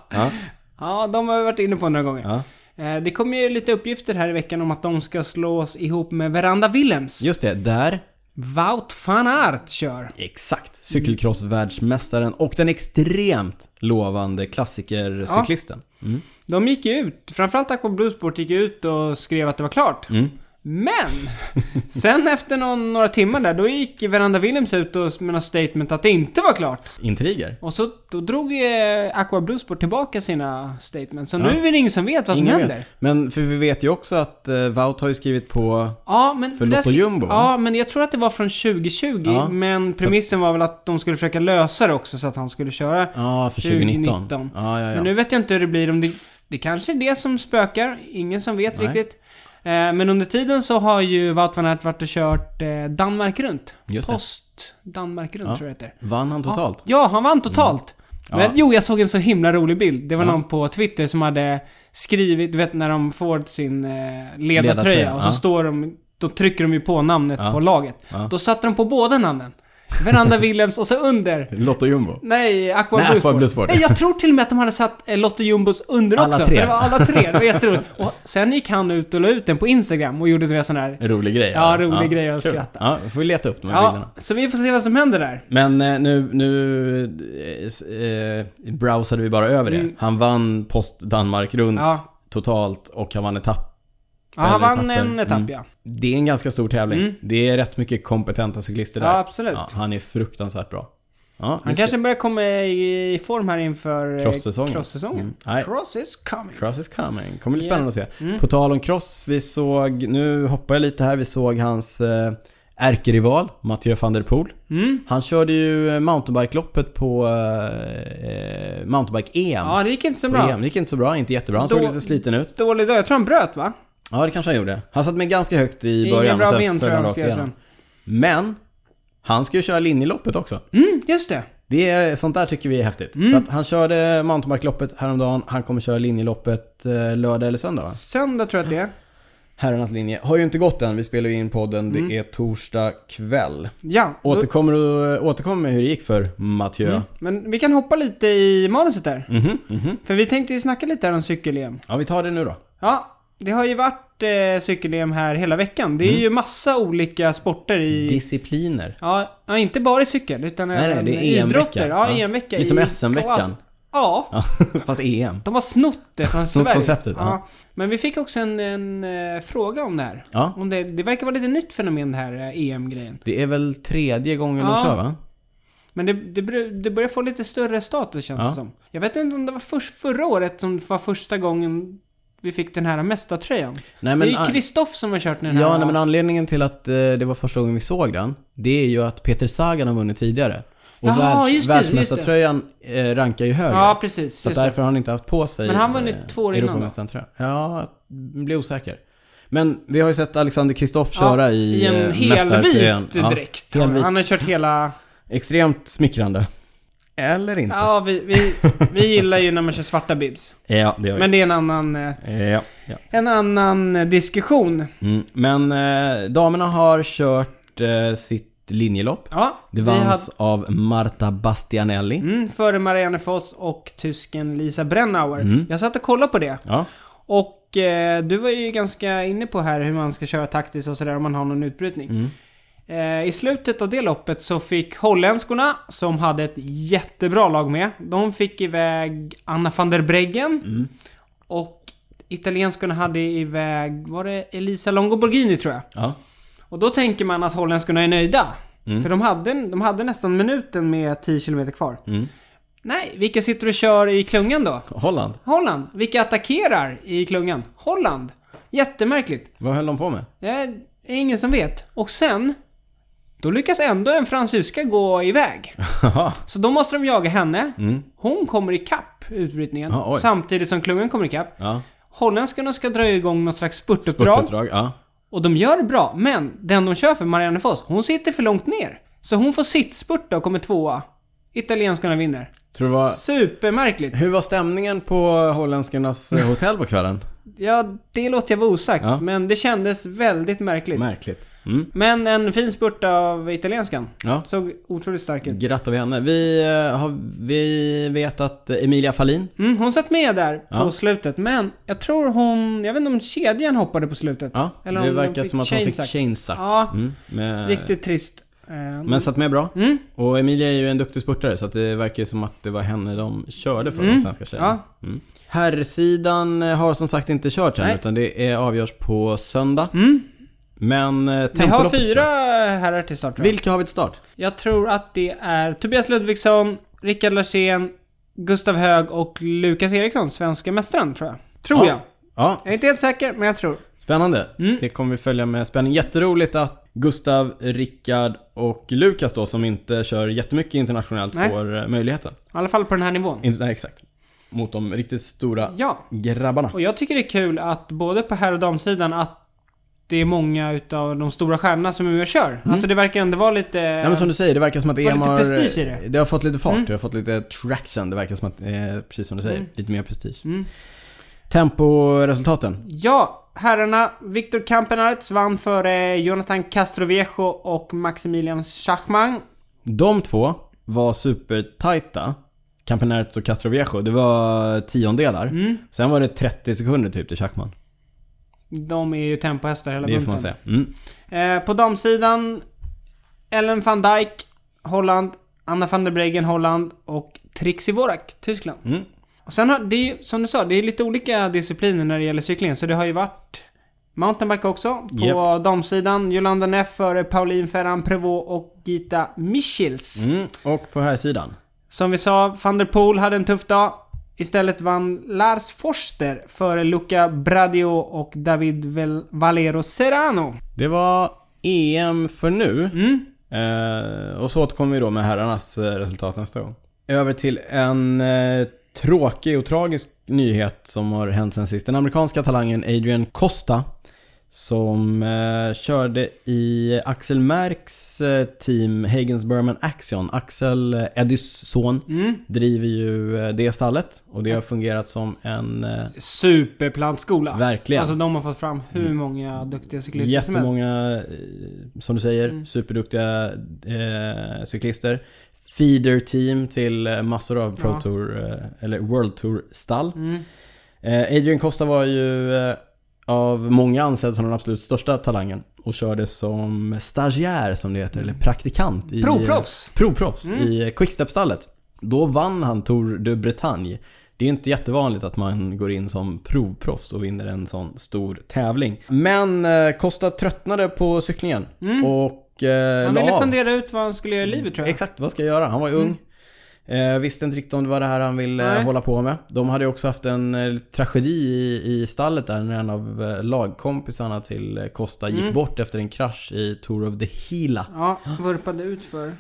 Speaker 1: Ja, de har vi varit inne på några gånger.
Speaker 2: Ja.
Speaker 1: Eh, det kom ju lite uppgifter här i veckan om att de ska slås ihop med Veranda Willems.
Speaker 2: Just det, där.
Speaker 1: Wout van Aert kör.
Speaker 2: Exakt. Cykelcross-världsmästaren och den extremt lovande klassikercyklisten.
Speaker 1: De gick ju ut, framförallt Aqua Bluesport gick ut och skrev att det var klart.
Speaker 2: Mm.
Speaker 1: Men! Sen efter någon, några timmar där, då gick Veranda Williams ut och med något statement att det inte var klart.
Speaker 2: Intriger.
Speaker 1: Och så då drog eh, Aqua Bluesport tillbaka sina statements. Så nu är det ingen som vet vad som
Speaker 2: Ingen
Speaker 1: händer.
Speaker 2: vet. Men för vi vet ju också att eh, Wout har ju skrivit på
Speaker 1: Ja, men
Speaker 2: För
Speaker 1: det där
Speaker 2: Lotto
Speaker 1: ska-
Speaker 2: Jumbo,
Speaker 1: Ja, men jag tror att det var från 2020.
Speaker 2: Ja.
Speaker 1: Men premissen var väl att de skulle försöka lösa det också så att han skulle köra
Speaker 2: Ja, för 2019.
Speaker 1: 2019.
Speaker 2: Ja, ja, ja.
Speaker 1: Men nu vet jag inte hur det blir om det... Det kanske är det som spökar. Ingen som vet
Speaker 2: Nej.
Speaker 1: riktigt. Eh, men under tiden så har ju Wout van Aert varit och kört eh, Danmark runt.
Speaker 2: Just det.
Speaker 1: Post Danmark runt tror jag det heter.
Speaker 2: Vann han totalt?
Speaker 1: Ja, han vann totalt.
Speaker 2: Mm.
Speaker 1: Men jo, jag såg en så himla rolig bild. Det var någon på Twitter som hade skrivit, du vet när de får sin eh, ledartröja,
Speaker 2: Ledartröja,
Speaker 1: och så
Speaker 2: ja.
Speaker 1: står de, då trycker de ju på namnet på laget. Då satte de på båda namnen. Veranda Willems och så under.
Speaker 2: Lotto Jumbo.
Speaker 1: Nej, Aqua
Speaker 2: Nej,
Speaker 1: Blue
Speaker 2: Aqua
Speaker 1: Sport.
Speaker 2: Blue Sport.
Speaker 1: Nej, jag tror till och med att de hade satt eh, Lotto Jumbos under
Speaker 2: Alla
Speaker 1: också.
Speaker 2: tre.
Speaker 1: Så det var alla tre. Det var jätteroligt. Och sen gick han ut och la ut den på Instagram och gjorde en sån här...
Speaker 2: Rolig grej.
Speaker 1: Ja, rolig grej att
Speaker 2: kul.
Speaker 1: skratta.
Speaker 2: Ja, får vi leta upp de här
Speaker 1: Ja,
Speaker 2: bilderna.
Speaker 1: så vi får se vad som händer där.
Speaker 2: Men eh, nu, nu eh, s- eh, Mm. browsade vi bara över det. Han vann post Danmark runt
Speaker 1: Ja.
Speaker 2: totalt och han vann etapp Mm,
Speaker 1: Ja, han
Speaker 2: Eller
Speaker 1: vann
Speaker 2: etapper.
Speaker 1: en etapp, ja.
Speaker 2: Det är en ganska stor tävling. Det är rätt mycket kompetenta cyklister där.
Speaker 1: Ja, absolut.
Speaker 2: han är fruktansvärt bra. Ja,
Speaker 1: Han
Speaker 2: vi ska-
Speaker 1: kanske börjar komma i i form här inför eh,
Speaker 2: Cross-säsongen.
Speaker 1: cross-säsongen.
Speaker 2: Mm. Nej.
Speaker 1: Cross is coming.
Speaker 2: Cross is coming. kommer bli spännande att se.
Speaker 1: Mm.
Speaker 2: På tal om Cross, vi såg, nu hoppar jag lite här, vi såg hans eh, ärkerival Mathieu van der Poel.
Speaker 1: Mm.
Speaker 2: Han körde ju eh, mountainbike-loppet på eh, eh, mountainbike-EM.
Speaker 1: Ja, det gick inte så
Speaker 2: På
Speaker 1: bra.
Speaker 2: EM. Det gick inte så bra, inte jättebra. Han såg
Speaker 1: Då-
Speaker 2: lite sliten ut.
Speaker 1: Dålig dag. Jag tror han bröt, va?
Speaker 2: Ja, det kanske han gjorde. Han satt med ganska högt i
Speaker 1: Ingen
Speaker 2: början
Speaker 1: bra
Speaker 2: och sen
Speaker 1: ben,
Speaker 2: föll
Speaker 1: tror
Speaker 2: han
Speaker 1: jag
Speaker 2: rakt
Speaker 1: skrev
Speaker 2: igenom. Men, han ska ju köra linjeloppet också.
Speaker 1: Mm, just det.
Speaker 2: Det är, sånt där tycker vi är häftigt. Så att han körde mountainbike-loppet häromdagen. Han kommer köra linjeloppet eh, lördag eller söndag va?
Speaker 1: Söndag tror jag att det är.
Speaker 2: Herrarnas linje har ju inte gått än. Vi spelar ju in podden.
Speaker 1: Mm.
Speaker 2: Det är torsdag kväll.
Speaker 1: Ja. då-
Speaker 2: Återkommer, du- eh, återkommer med hur det gick för Mathieu.
Speaker 1: Mm. Men vi kan hoppa lite i manuset där.
Speaker 2: Mhm, mhm.
Speaker 1: För vi tänkte ju snacka lite här om cykel-EM.
Speaker 2: Ja, vi tar det nu då.
Speaker 1: Ja, det har ju varit eh, cykel-EM här hela veckan. Det är
Speaker 2: Mm.
Speaker 1: ju massa olika sporter i...
Speaker 2: Discipliner.
Speaker 1: Ja, ja, inte bara i cykel utan
Speaker 2: nej,
Speaker 1: även
Speaker 2: det är EM-vecka.
Speaker 1: idrotter. Ja,
Speaker 2: Ja.
Speaker 1: EM-vecka.
Speaker 2: Lite som
Speaker 1: i-
Speaker 2: SM-veckan.
Speaker 1: Ja,
Speaker 2: Ja, fast EM.
Speaker 1: de har snott det från
Speaker 2: Snott
Speaker 1: Sverige.
Speaker 2: konceptet, ja.
Speaker 1: Men vi fick också en, en eh, fråga om det här.
Speaker 2: Ja.
Speaker 1: Om det, det verkar vara lite nytt fenomen det här eh, EM-grejen.
Speaker 2: Det är väl tredje gången
Speaker 1: Ja.
Speaker 2: de kör va?
Speaker 1: Men det, det, bör- det börjar få lite större status känns
Speaker 2: Ja.
Speaker 1: det som. Jag vet inte om det var först, förra året som det var första gången vi fick den här mästartröjan.
Speaker 2: Nej,
Speaker 1: det
Speaker 2: men,
Speaker 1: är ju Kristoff som har kört den här.
Speaker 2: Ja, nej, men anledningen till att eh, det var första gången vi såg den, det är ju att Peter Sagan har vunnit tidigare. Och
Speaker 1: Jaha,
Speaker 2: världs-
Speaker 1: just det,
Speaker 2: världsmästartröjan eh, rankar ju högre.
Speaker 1: ja precis.
Speaker 2: så att
Speaker 1: just det.
Speaker 2: därför har han inte haft på sig
Speaker 1: Men han vann ju
Speaker 2: eh,
Speaker 1: två år innan,
Speaker 2: Europamästartröjan. Ja, jag blir osäker. Men vi har ju sett Alexander Kristoff köra
Speaker 1: Ja,
Speaker 2: i,
Speaker 1: I en
Speaker 2: eh,
Speaker 1: helvit
Speaker 2: mästartröjan.
Speaker 1: dräkt.
Speaker 2: Ja, helvit.
Speaker 1: Han har kört hela...
Speaker 2: Extremt smickrande. Eller inte. Ja,
Speaker 1: Ja, vi, vi, vi gillar ju när man kör svarta bibs.
Speaker 2: det gör vi.
Speaker 1: Men det är en annan, eh,
Speaker 2: Ja, ja.
Speaker 1: en annan eh, diskussion.
Speaker 2: Mm. Men eh, damerna har kört eh, sitt linjelopp.
Speaker 1: Ja,
Speaker 2: Det
Speaker 1: vi
Speaker 2: vanns av Marta Bastianelli.
Speaker 1: hade- mm, före Marianne Foss och tysken Lisa Brennauer.
Speaker 2: Mm.
Speaker 1: Jag satt och kollade på det.
Speaker 2: Ja.
Speaker 1: Och eh, du var ju ganska inne på här hur man ska köra taktiskt och sådär om man har någon utbrytning. Eh, I slutet av det loppet så fick holländskorna, som hade ett jättebra lag med, de fick iväg Anna van der Breggen. Och italienskorna hade iväg, var det Elisa Longo Borghini tror jag?
Speaker 2: ja.
Speaker 1: Och då tänker man att holländskorna är nöjda. För de hade, de hade nästan minuten med 10 km kvar. Nej, vilka sitter och kör i klungan då?
Speaker 2: Holland.
Speaker 1: Holland. Vilka attackerar i klungan? Holland. Jättemärkligt.
Speaker 2: Vad höll de på med?
Speaker 1: Det är ingen som vet. Och sen, då lyckas ändå en fransyska gå iväg. Så då måste de jaga henne. Hon kommer ikapp utbrytningen.
Speaker 2: Mm. Ja, oj.
Speaker 1: samtidigt som klungan kommer ikapp.
Speaker 2: ja.
Speaker 1: Holländskarna ska dra igång något slags spurtuppdrag.
Speaker 2: Spurtuppdrag. Ja.
Speaker 1: Och de gör det bra, men den de kör för, Marianne Foss, hon sitter för långt ner. Så hon får sitt spurta och kommer tvåa. Italienskarna vinner.
Speaker 2: Tror det var-
Speaker 1: Supermärkligt.
Speaker 2: Hur var stämningen på holländskarnas eh, hotell på kvällen?
Speaker 1: Ja, det låter jag vara osagt,
Speaker 2: Ja.
Speaker 1: men det kändes väldigt märkligt.
Speaker 2: Märkligt. Mm.
Speaker 1: Men en fin spurt av italienskan.
Speaker 2: Ja.
Speaker 1: Såg otroligt stark ut.
Speaker 2: Grattar vi henne. Vi, eh, har, vi vet att eh, Emilia Fahlin
Speaker 1: Mm, hon satt med där på
Speaker 2: Ja.
Speaker 1: slutet, men jag tror hon... Jag vet inte om kedjan hoppade på slutet.
Speaker 2: Ja,
Speaker 1: om
Speaker 2: det
Speaker 1: de
Speaker 2: verkar som att hon fick
Speaker 1: chainsack.
Speaker 2: chainsack.
Speaker 1: Ja.
Speaker 2: Mm, med,
Speaker 1: Riktigt trist. Eh,
Speaker 2: Men satt med bra. Och Emilia är ju en duktig spurtare så att det verkar ju som att det var henne de körde för de svenska tjejerna. Mm. Herrsidan eh, har som sagt inte kört än
Speaker 1: Nej. Mm.
Speaker 2: utan det är avgörs på söndag. Men eh,
Speaker 1: vi har
Speaker 2: tempoloppet
Speaker 1: fyra
Speaker 2: tror jag.
Speaker 1: herrar till start tror jag.
Speaker 2: Vilka har vi till start?
Speaker 1: Jag tror att det är Tobias Ludvigsson, Rickard Larsén, Gustav Hög och Lukas Eriksson, svenska mästaren tror jag. Tror jag.
Speaker 2: Ja,
Speaker 1: Jag är inte helt säker, men jag tror.
Speaker 2: spännande.
Speaker 1: Mm.
Speaker 2: Det kommer vi följa med spänning. Jätteroligt att Gustav, Rickard och Lukas då som inte kör jättemycket internationellt
Speaker 1: Nej.
Speaker 2: får eh, möjligheten.
Speaker 1: I alla fall på den här nivån.
Speaker 2: Inte, nej, exakt. Mot de riktigt stora
Speaker 1: Ja.
Speaker 2: grabbarna.
Speaker 1: Och jag tycker det är kul att både på herr och damsidan att det är många utav de stora stjärnorna som är med och kör. Alltså det verkar ändå vara lite...
Speaker 2: Mm. Ja men som du säger, det verkar som att
Speaker 1: var
Speaker 2: EM
Speaker 1: lite
Speaker 2: har...
Speaker 1: prestige i det. Mm.
Speaker 2: Det har fått lite fart, det har fått lite traction. Det verkar som att, eh, precis som du säger, lite mer prestige.
Speaker 1: Mm.
Speaker 2: Temporesultaten.
Speaker 1: Ja, herrarna Viktor Kampenarts vann före Jonathan Castroviejo och Maximilian Schachmann.
Speaker 2: De två var supertajta. Campenerz och Castroviejo, det var tiondelar.
Speaker 1: Mm.
Speaker 2: Sen var det 30 sekunder typ till Schachman.
Speaker 1: De är ju tempohästar hela
Speaker 2: Det
Speaker 1: bunten.
Speaker 2: får man säga. Mm.
Speaker 1: Eh, på damsidan Ellen van Dijk, Holland, Anna van der Breggen, Holland och Trixie Vorak, Tyskland.
Speaker 2: Mm.
Speaker 1: Och sen har, det är ju, som du sa, det är lite olika discipliner när det gäller cyklingen. Så det har ju varit Mountainbike också. På
Speaker 2: Japp.
Speaker 1: damsidan Jolanda Neff före Pauline Ferran Prevot och Gita Michels.
Speaker 2: Mm. Och på här sidan
Speaker 1: Som vi sa, van der Poel hade en tuff dag. Istället vann Lars Forster före Luca Bradio och David Vel- Valero Serrano.
Speaker 2: Det var EM för nu. Eh, och så återkommer vi då med herrarnas eh, resultat nästa gång. Över till en eh, tråkig och tragisk nyhet som har hänt sen sist. Den amerikanska talangen Adrian Costa som eh, körde i Axel Märks eh, team Hagens Berman Axion. Axel eh, Eddys son driver ju eh, det stallet och det har fungerat som en eh,
Speaker 1: Superplantskola.
Speaker 2: Verkligen. Mm.
Speaker 1: Alltså de har fått fram hur många duktiga cyklister som helst. Mm.
Speaker 2: Jättemånga, eh, som du säger, superduktiga eh, cyklister. Feeder team till eh, massor av Pro
Speaker 1: Ja. Mm.
Speaker 2: Tour, eh, eller World Tour-stall. Eh, Adrian Costa var ju eh, av många ansedd som den absolut största talangen och körde som stagiär, som det heter, eller praktikant. i-
Speaker 1: Mm.
Speaker 2: eh,
Speaker 1: Provproffs.
Speaker 2: Provproffs
Speaker 1: Mm.
Speaker 2: i Quickstep-stallet. Då vann han Tour de Bretagne. Det är inte jättevanligt att man går in som provproffs och vinner en sån stor tävling. Men eh, Costa tröttnade på cyklingen och eh,
Speaker 1: Mm. Han
Speaker 2: la
Speaker 1: ville
Speaker 2: av.
Speaker 1: fundera ut vad han skulle göra i livet tror jag.
Speaker 2: Exakt, vad ska jag göra? Han var ju ung. Eh, visste inte riktigt om det var det här han ville eh,
Speaker 1: Mm. Nej.
Speaker 2: hålla på med. De hade ju också haft en eh, tragedi i, i stallet där när en av eh, lagkompisarna till eh, Costa
Speaker 1: Mm.
Speaker 2: gick bort efter en krasch i Tour of the Hila.
Speaker 1: Ja, vurpade ut för.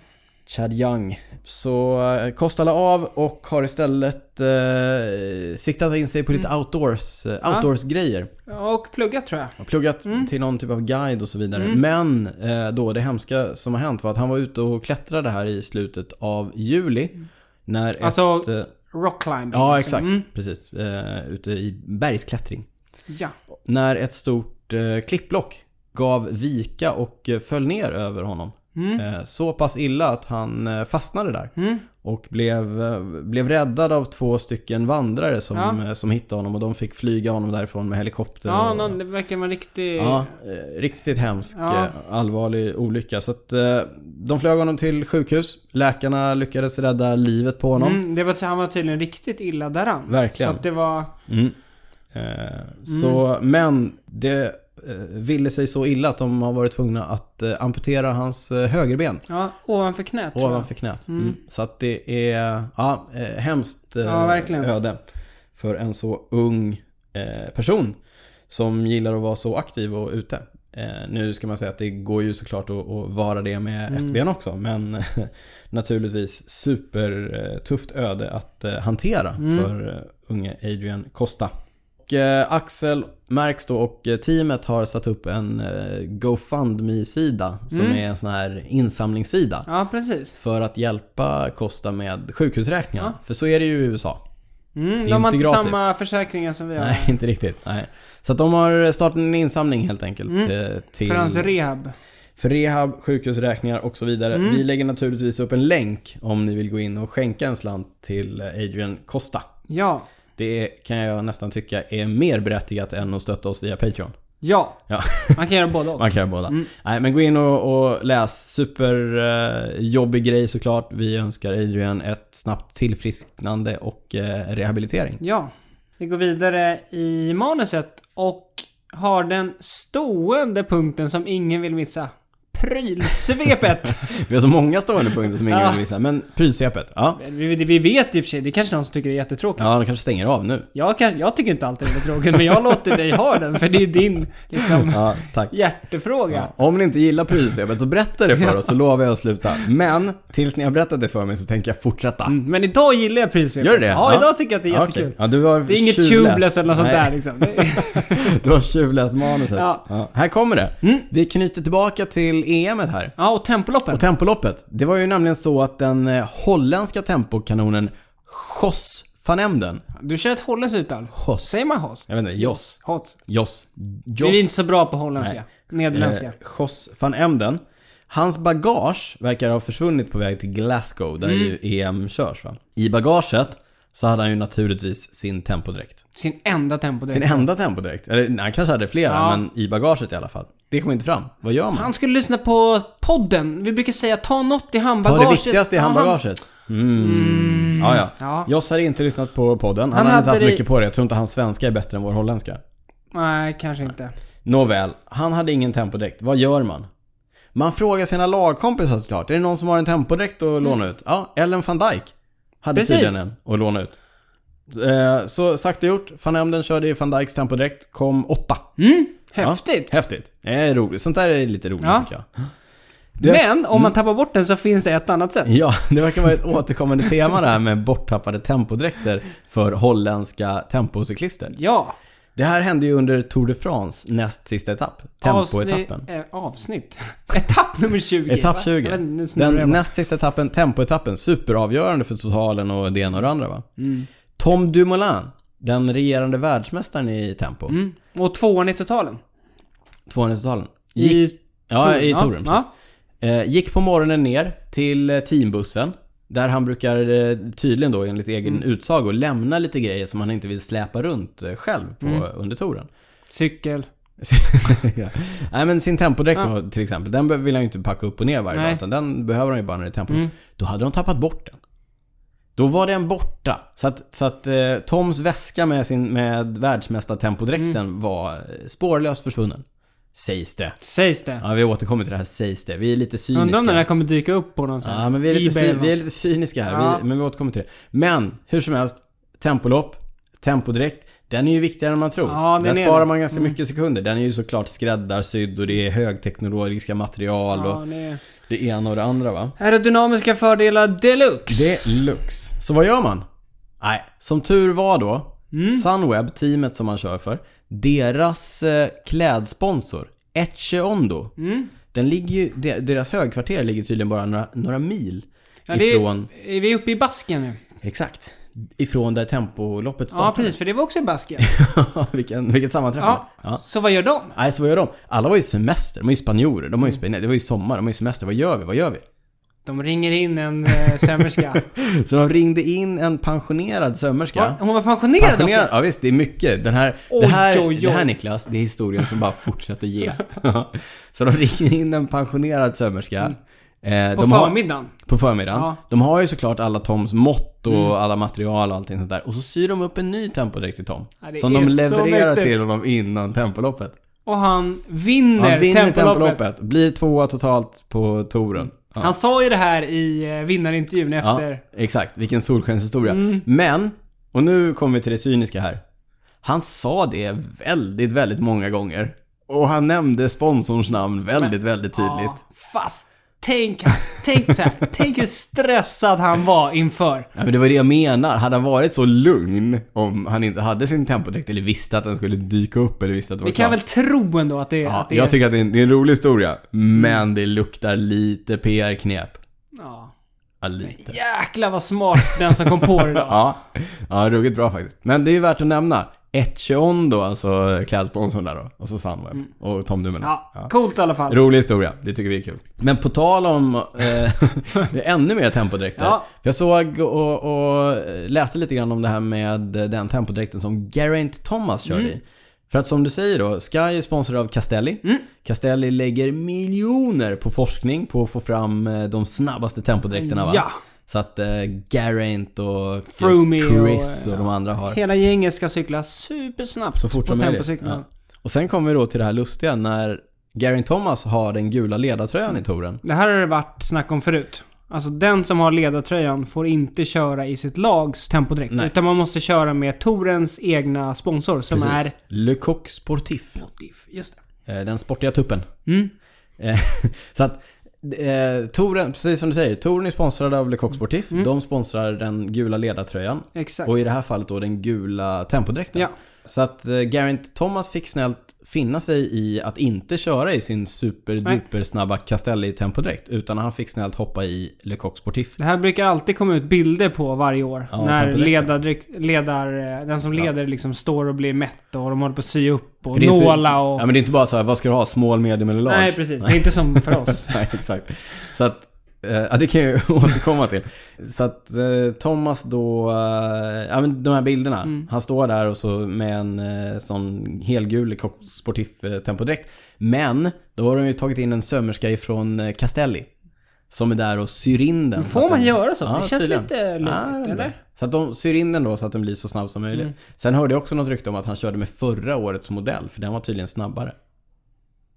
Speaker 2: Chad Young. Så eh, Costa la av och har istället eh, siktat in sig på
Speaker 1: Mm.
Speaker 2: lite outdoors, eh,
Speaker 1: Ah.
Speaker 2: outdoors-grejer.
Speaker 1: Och pluggat tror jag.
Speaker 2: Och pluggat
Speaker 1: Mm.
Speaker 2: till någon typ av guide och så vidare. Men eh, då det hemska som har hänt var att han var ute och klättrade här i slutet av juli. När
Speaker 1: Mm. Alltså-
Speaker 2: ett... Eh,
Speaker 1: Rockclimbing.
Speaker 2: ja,
Speaker 1: alltså.
Speaker 2: exakt.
Speaker 1: Mm.
Speaker 2: Precis. Eh, ute i bergsklättring.
Speaker 1: Ja.
Speaker 2: När ett stort eh, klippblock gav vika och eh, föll ner över honom.
Speaker 1: Mm.
Speaker 2: Eh, så pass illa att han eh, fastnade där. Och blev, eh, blev räddad av två stycken vandrare som,
Speaker 1: Ja.
Speaker 2: eh, som hittade honom och de fick flyga honom därifrån med helikopter.
Speaker 1: Ja,
Speaker 2: och,
Speaker 1: någon, det verkar vara en riktig...
Speaker 2: Ja, eh, riktigt hemsk,
Speaker 1: Ja.
Speaker 2: eh, allvarlig olycka. Så att eh, de flög honom till sjukhus. Läkarna lyckades rädda livet på honom.
Speaker 1: Mm, det var, han var tydligen riktigt illa däran.
Speaker 2: Verkligen.
Speaker 1: Så att det var...
Speaker 2: Mm. Eh, Så, men det eh, ville sig så illa att de har varit tvungna att eh, amputera hans eh, högerben
Speaker 1: Ja, ovanför knät tror jag.
Speaker 2: ovanför knät. Mm. Så att det är, ja, eh, hemskt eh,
Speaker 1: Ja, verkligen.
Speaker 2: öde för en så ung eh, person som gillar att vara så aktiv och ute. Eh, nu ska man säga att det går ju såklart att, att vara det med
Speaker 1: Mm.
Speaker 2: ett ben också, men naturligtvis supertufft öde att eh, hantera
Speaker 1: Mm.
Speaker 2: för eh, unge Adrian Costa. Och, eh, Axel Märks då och eh, teamet har satt upp en eh, GoFundMe-sida som
Speaker 1: Mm.
Speaker 2: är en sån här insamlingssida
Speaker 1: Ja, precis.
Speaker 2: för att hjälpa Costa med sjukhusräkningarna. För så är det ju i USA.
Speaker 1: Mm,
Speaker 2: är
Speaker 1: de har
Speaker 2: inte
Speaker 1: inte
Speaker 2: gratis.
Speaker 1: samma försäkringar som vi har.
Speaker 2: Nej, inte riktigt. Nej. Så att de har startat en insamling helt enkelt. eh, Till,
Speaker 1: Mm. För hans rehab.
Speaker 2: för rehab, sjukhusräkningar och så vidare.
Speaker 1: Mm.
Speaker 2: Vi lägger naturligtvis upp en länk om ni vill gå in och skänka en slant till Adrian Costa.
Speaker 1: Ja.
Speaker 2: Det kan jag nästan tycka är mer berättigat än att stötta oss via Patreon.
Speaker 1: Ja.
Speaker 2: Ja.
Speaker 1: Man kan göra både och.
Speaker 2: Man kan göra båda.
Speaker 1: Mm.
Speaker 2: Nej, men gå in och, och läs. Superjobbig eh, jobbig grej såklart. Vi önskar Adrian ett snabbt tillfrisknande och eh, rehabilitering.
Speaker 1: Ja. Vi går vidare i manuset och har den stående punkten som ingen vill missa. Prylsvepet!
Speaker 2: Vi har så många stående punkter som ingen vill missa, men prylsvepet. Ja.
Speaker 1: vi, vi vet ju i och för sig, det är kanske någon som tycker det är jättetråkigt.
Speaker 2: ja, de kanske stänger av nu.
Speaker 1: Jag, kan, jag tycker inte alltid det är tråkigt, men jag låter dig ha den för det är din liksom,
Speaker 2: Ja, tack.
Speaker 1: hjärtefråga.
Speaker 2: Om ni inte gillar prylsvepet så berätta det för oss så lovar jag att sluta. Men tills ni har berättat det för mig så tänker jag fortsätta.
Speaker 1: Men idag gillar jag prylsvepet.
Speaker 2: Gör du det?
Speaker 1: Ja, idag tycker jag att det är
Speaker 2: Ja,
Speaker 1: jättekul.
Speaker 2: okej. Ja, du har
Speaker 1: Det är inget
Speaker 2: tjuvläst.
Speaker 1: tubeless eller något sånt
Speaker 2: Nej.
Speaker 1: där liksom. Det är-
Speaker 2: Du har tjuvläst manuset. Ja.
Speaker 1: Ja. Mm.
Speaker 2: Här kommer det. Vi knyter tillbaka till EMet här.
Speaker 1: Ja, och tempoloppen.
Speaker 2: Och tempoloppet. Det var ju nämligen så att den eh, holländska tempokanonen Jos van Emden.
Speaker 1: Du kör ett holländskt uttal.
Speaker 2: Jos.
Speaker 1: Säger man hos?
Speaker 2: Jag vet inte, Jos.
Speaker 1: Hos.
Speaker 2: Jos.
Speaker 1: Vi är inte
Speaker 2: Jos.
Speaker 1: så bra på holländska. Nederländska.
Speaker 2: Eh, Jos van Emden. Hans bagage verkar ha försvunnit på väg till Glasgow
Speaker 1: Mm.
Speaker 2: där ju EM körs va. I bagaget så hade han ju naturligtvis sin tempodräkt.
Speaker 1: Sin enda tempo
Speaker 2: Sin
Speaker 1: direkt.
Speaker 2: enda tempodräkt. Eller nej, han kanske hade flera
Speaker 1: Ja.
Speaker 2: men i bagaget i alla fall. Det kom inte fram. Vad gör man?
Speaker 1: Han skulle lyssna på podden. Vi brukar säga ta något i
Speaker 2: Ta
Speaker 1: handbagaget.
Speaker 2: det viktigaste i
Speaker 1: Ja,
Speaker 2: handbagaget. Mm. Ja, ja.
Speaker 1: Ja.
Speaker 2: Joss hade inte lyssnat på podden. Han,
Speaker 1: Han
Speaker 2: hade inte
Speaker 1: hade
Speaker 2: haft
Speaker 1: det-
Speaker 2: mycket på det. Jag tror inte hans svenska är bättre än vår holländska.
Speaker 1: Nej, kanske inte.
Speaker 2: Nåväl, han hade ingen tempodräkt. Vad gör man? Man frågar sina lagkompisar såklart. Är det någon som har en tempodräkt att låna ut? Ja, Ellen van Dijk
Speaker 1: Mm.
Speaker 2: hade
Speaker 1: Precis.
Speaker 2: tydligen en att låna ut. Eh, Så sagt och gjort. Van Emden körde i van Dijks tempodräkt. Kom åtta.
Speaker 1: Mm. Häftigt!
Speaker 2: Ja, häftigt. Det är roligt. Sånt där är lite roligt
Speaker 1: Ja.
Speaker 2: tycker jag.
Speaker 1: Men om
Speaker 2: Mm.
Speaker 1: man tappar bort den så finns det ett annat sätt.
Speaker 2: Ja, det verkar vara ett återkommande tema det här med borttappade tempodräkter för holländska tempocyklister.
Speaker 1: Ja.
Speaker 2: Det här hände ju under Tour de France näst sista etapp. Tempoetappen.
Speaker 1: Avsnitt, eh, avsnitt. Etapp nummer 20. va?
Speaker 2: Etapp
Speaker 1: Jag
Speaker 2: 20.
Speaker 1: vet inte, nu snurrar jag
Speaker 2: Den
Speaker 1: bara.
Speaker 2: näst sista etappen, tempoetappen, superavgörande för totalen och det ena och det andra va?
Speaker 1: Mm.
Speaker 2: Tom Dumoulin, den regerande världsmästaren i tempo.
Speaker 1: Och tvåan i totalen.
Speaker 2: 200-totalen.
Speaker 1: Gick-
Speaker 2: Ja, i
Speaker 1: Ja,
Speaker 2: touren
Speaker 1: ja.
Speaker 2: precis. Eh, Gick på morgonen ner till eh, teambussen. Där han brukar eh, tydligen då enligt egen
Speaker 1: Mm.
Speaker 2: utsago lämna lite grejer som han inte vill släpa runt eh, själv på,
Speaker 1: Mm.
Speaker 2: under touren.
Speaker 1: Cykel.
Speaker 2: ja. Nej men sin tempodräkt då, till exempel, den be- vill han ju inte packa upp och ner varje dag
Speaker 1: Nej. Mm.
Speaker 2: utan den behöver han ju bara när det är tempo. Då hade de tappat bort den. Då var den borta. Så att, så att eh, Toms väska med, sin, med världsmästartempodräkten
Speaker 1: Mm.
Speaker 2: var eh, spårlöst försvunnen. Sägs det.
Speaker 1: Sägs det.
Speaker 2: Ja, vi återkommer till det här sägs det. Vi är lite cyniska.
Speaker 1: Undrar om den här kommer dyka upp på någon sån här
Speaker 2: Ja, men vi är lite,
Speaker 1: eBay
Speaker 2: cy-
Speaker 1: eller
Speaker 2: vi är
Speaker 1: något.
Speaker 2: lite cyniska här,
Speaker 1: Ja.
Speaker 2: vi, men vi återkommer till det. Men, hur som helst. Tempolopp, tempodräkt. Den är ju viktigare än man tror.
Speaker 1: Ja, den
Speaker 2: den
Speaker 1: är
Speaker 2: sparar
Speaker 1: det. Mm.
Speaker 2: man ganska mycket sekunder. Den är ju såklart skräddarsydd och det är högteknologiska material
Speaker 1: Ja,
Speaker 2: och
Speaker 1: det är...
Speaker 2: det ena och det andra va.
Speaker 1: Aerodynamiska fördelar deluxe.
Speaker 2: lux. Så vad gör man? Nej, som tur var då.
Speaker 1: Mm.
Speaker 2: Sunweb, teamet som man kör för. Deras eh, klädsponsor, Etche Ondo.
Speaker 1: Mm.
Speaker 2: Den ligger ju, de- deras högkvarter ligger tydligen bara några, några mil
Speaker 1: Ja, det är-
Speaker 2: ifrån...
Speaker 1: Är vi uppe i Basken nu?
Speaker 2: Exakt. Ifrån där tempoloppet
Speaker 1: Ja,
Speaker 2: startade.
Speaker 1: precis. För det var också i Basken.
Speaker 2: Vilken, vilket sammanträffande.
Speaker 1: Ja. Så vad gör de?
Speaker 2: Nej, så vad gör de? Alla var ju semester. De var ju spanjorer. De var ju spanjorer. Det var ju sommar. De var ju semester. Vad gör vi? Vad gör vi?
Speaker 1: De ringer in en eh, sömmerska.
Speaker 2: Så de ringde in en pensionerad sömmerska.
Speaker 1: Hon var pensionerad,
Speaker 2: Pensionerad?
Speaker 1: också.
Speaker 2: Ja, visst. Det är mycket. Den här, det,
Speaker 1: Oj,
Speaker 2: här,
Speaker 1: oj, oj.
Speaker 2: det här Niklas, det är historien som bara fortsätter ge. så de ringer in en pensionerad
Speaker 1: Mm.
Speaker 2: sömmerska. Eh,
Speaker 1: På
Speaker 2: de har-
Speaker 1: förmiddagen.
Speaker 2: På förmiddagen.
Speaker 1: Ja. Mm.
Speaker 2: De har ju såklart alla Toms mått och alla material och allting sånt där. Och så syr de upp en ny tempodräkt till Tom.
Speaker 1: Ja, det
Speaker 2: som
Speaker 1: är
Speaker 2: de
Speaker 1: så
Speaker 2: levererar
Speaker 1: mäktigt.
Speaker 2: till honom innan tempoloppet.
Speaker 1: Och han vinner,
Speaker 2: Han vinner tempoloppet.
Speaker 1: tempoloppet.
Speaker 2: blir tvåa totalt på touren. Ja.
Speaker 1: Han sa ju det här i eh, vinnarintervjun efter. Mm.
Speaker 2: ja, exakt. Vilken solskenshistoria. Men, och nu kommer vi till det cyniska här. Han sa det väldigt, väldigt många gånger. Och han nämnde sponsorns namn väldigt, väldigt tydligt.
Speaker 1: Ja, fast tänk, tänk så här, tänk hur stressad han var inför.
Speaker 2: Ja, men det var det jag menar. Hade han varit så lugn om han inte hade sin tempodräkt eller visste att den skulle dyka upp eller visste att det var
Speaker 1: Vi kan
Speaker 2: klart.
Speaker 1: väl tro ändå att det, är-
Speaker 2: ja,
Speaker 1: att det Mm.
Speaker 2: Jag
Speaker 1: är...
Speaker 2: tycker att det är, en, det är en rolig historia, men det luktar lite PR-knep.
Speaker 1: Ja.
Speaker 2: Ja, lite.
Speaker 1: Jäklar vad smart den som kom på det då.
Speaker 2: Ja, ja ruggigt bra faktiskt. Men det är ju värt att nämna. Etche Ondo, alltså klädsponsorn där då. Och så Sunweb. Och Tom Dumoulin.
Speaker 1: Mm. Ja, coolt i alla fall.
Speaker 2: Rolig historia, det tycker vi är kul. Men på tal om eh, ännu mer tempodräkter.
Speaker 1: Ja.
Speaker 2: För Jag såg och, och läste lite grann om det här med den tempodräkten som Geraint Thomas körde
Speaker 1: Mm.
Speaker 2: i. För att som du säger då, Sky är sponsrad av Castelli.
Speaker 1: Mm.
Speaker 2: Castelli lägger miljoner på forskning på att få fram eh, de snabbaste tempodräkterna va?
Speaker 1: Ja.
Speaker 2: Så att eh, Geraint och
Speaker 1: Froome och,
Speaker 2: Chris och, de andra har
Speaker 1: Hela gänget ska cykla supersnabbt
Speaker 2: så fort
Speaker 1: på
Speaker 2: som möjligt.
Speaker 1: tempocyklarna.
Speaker 2: Ja. Och sen kommer vi då till det här lustiga när Geraint Thomas har den gula ledartröjan i touren.
Speaker 1: Det här har det varit snack om förut. Alltså den som har ledartröjan får inte köra i sitt lags tempodräkt.
Speaker 2: Nej.
Speaker 1: Utan man måste köra med Torens egna sponsor som är...
Speaker 2: Le Coq Sportif.
Speaker 1: Just det.
Speaker 2: Eh, Den sportiga tuppen.
Speaker 1: Mm.
Speaker 2: Eh, Så att eh, touren, precis som du säger, touren är sponsrad av Le Coq Sportif. De sponsrar den gula ledartröjan.
Speaker 1: Mm. Exakt.
Speaker 2: Och i det här fallet då den gula tempodräkten.
Speaker 1: Ja.
Speaker 2: Så att eh, Geraint Thomas fick snällt finna sig i att inte köra i sin superduper snabba Castelli tempodräkt. Utan han fick snällt hoppa i Le Coq Sportif.
Speaker 1: Det här brukar alltid komma ut bilder på varje år.
Speaker 2: Ja,
Speaker 1: när
Speaker 2: tempodräkten.
Speaker 1: ledardräkt, ledar, eh, den som leder liksom står och blir mätt och de håller på att sy upp och
Speaker 2: För det är inte-
Speaker 1: nåla och...
Speaker 2: Ja men det är inte bara så här, vad ska du ha? Small, medium eller large?
Speaker 1: Nej precis, det är inte som för oss.
Speaker 2: Nej, exakt. Så att, eh, ja det kan jag ju återkomma till. Så att eh, Thomas då, eh, ja men de här bilderna.
Speaker 1: Mm.
Speaker 2: Han står där och så med en eh, sån helgul Coq sportif eh, tempodräkt. Men, då har de ju tagit in en sömmerska ifrån eh, Castelli. Som är där och syr in den. så
Speaker 1: Får
Speaker 2: att
Speaker 1: man
Speaker 2: den-
Speaker 1: göra så?
Speaker 2: Ja,
Speaker 1: det känns
Speaker 2: tydligen.
Speaker 1: lite
Speaker 2: Ja, jag
Speaker 1: lågt,
Speaker 2: vet
Speaker 1: eller?
Speaker 2: inte. Så att de syr in den då så att den
Speaker 1: Mm.
Speaker 2: blir så snabb som möjligt. Sen hörde jag också något rykte om att han körde med förra årets modell, för den var tydligen snabbare.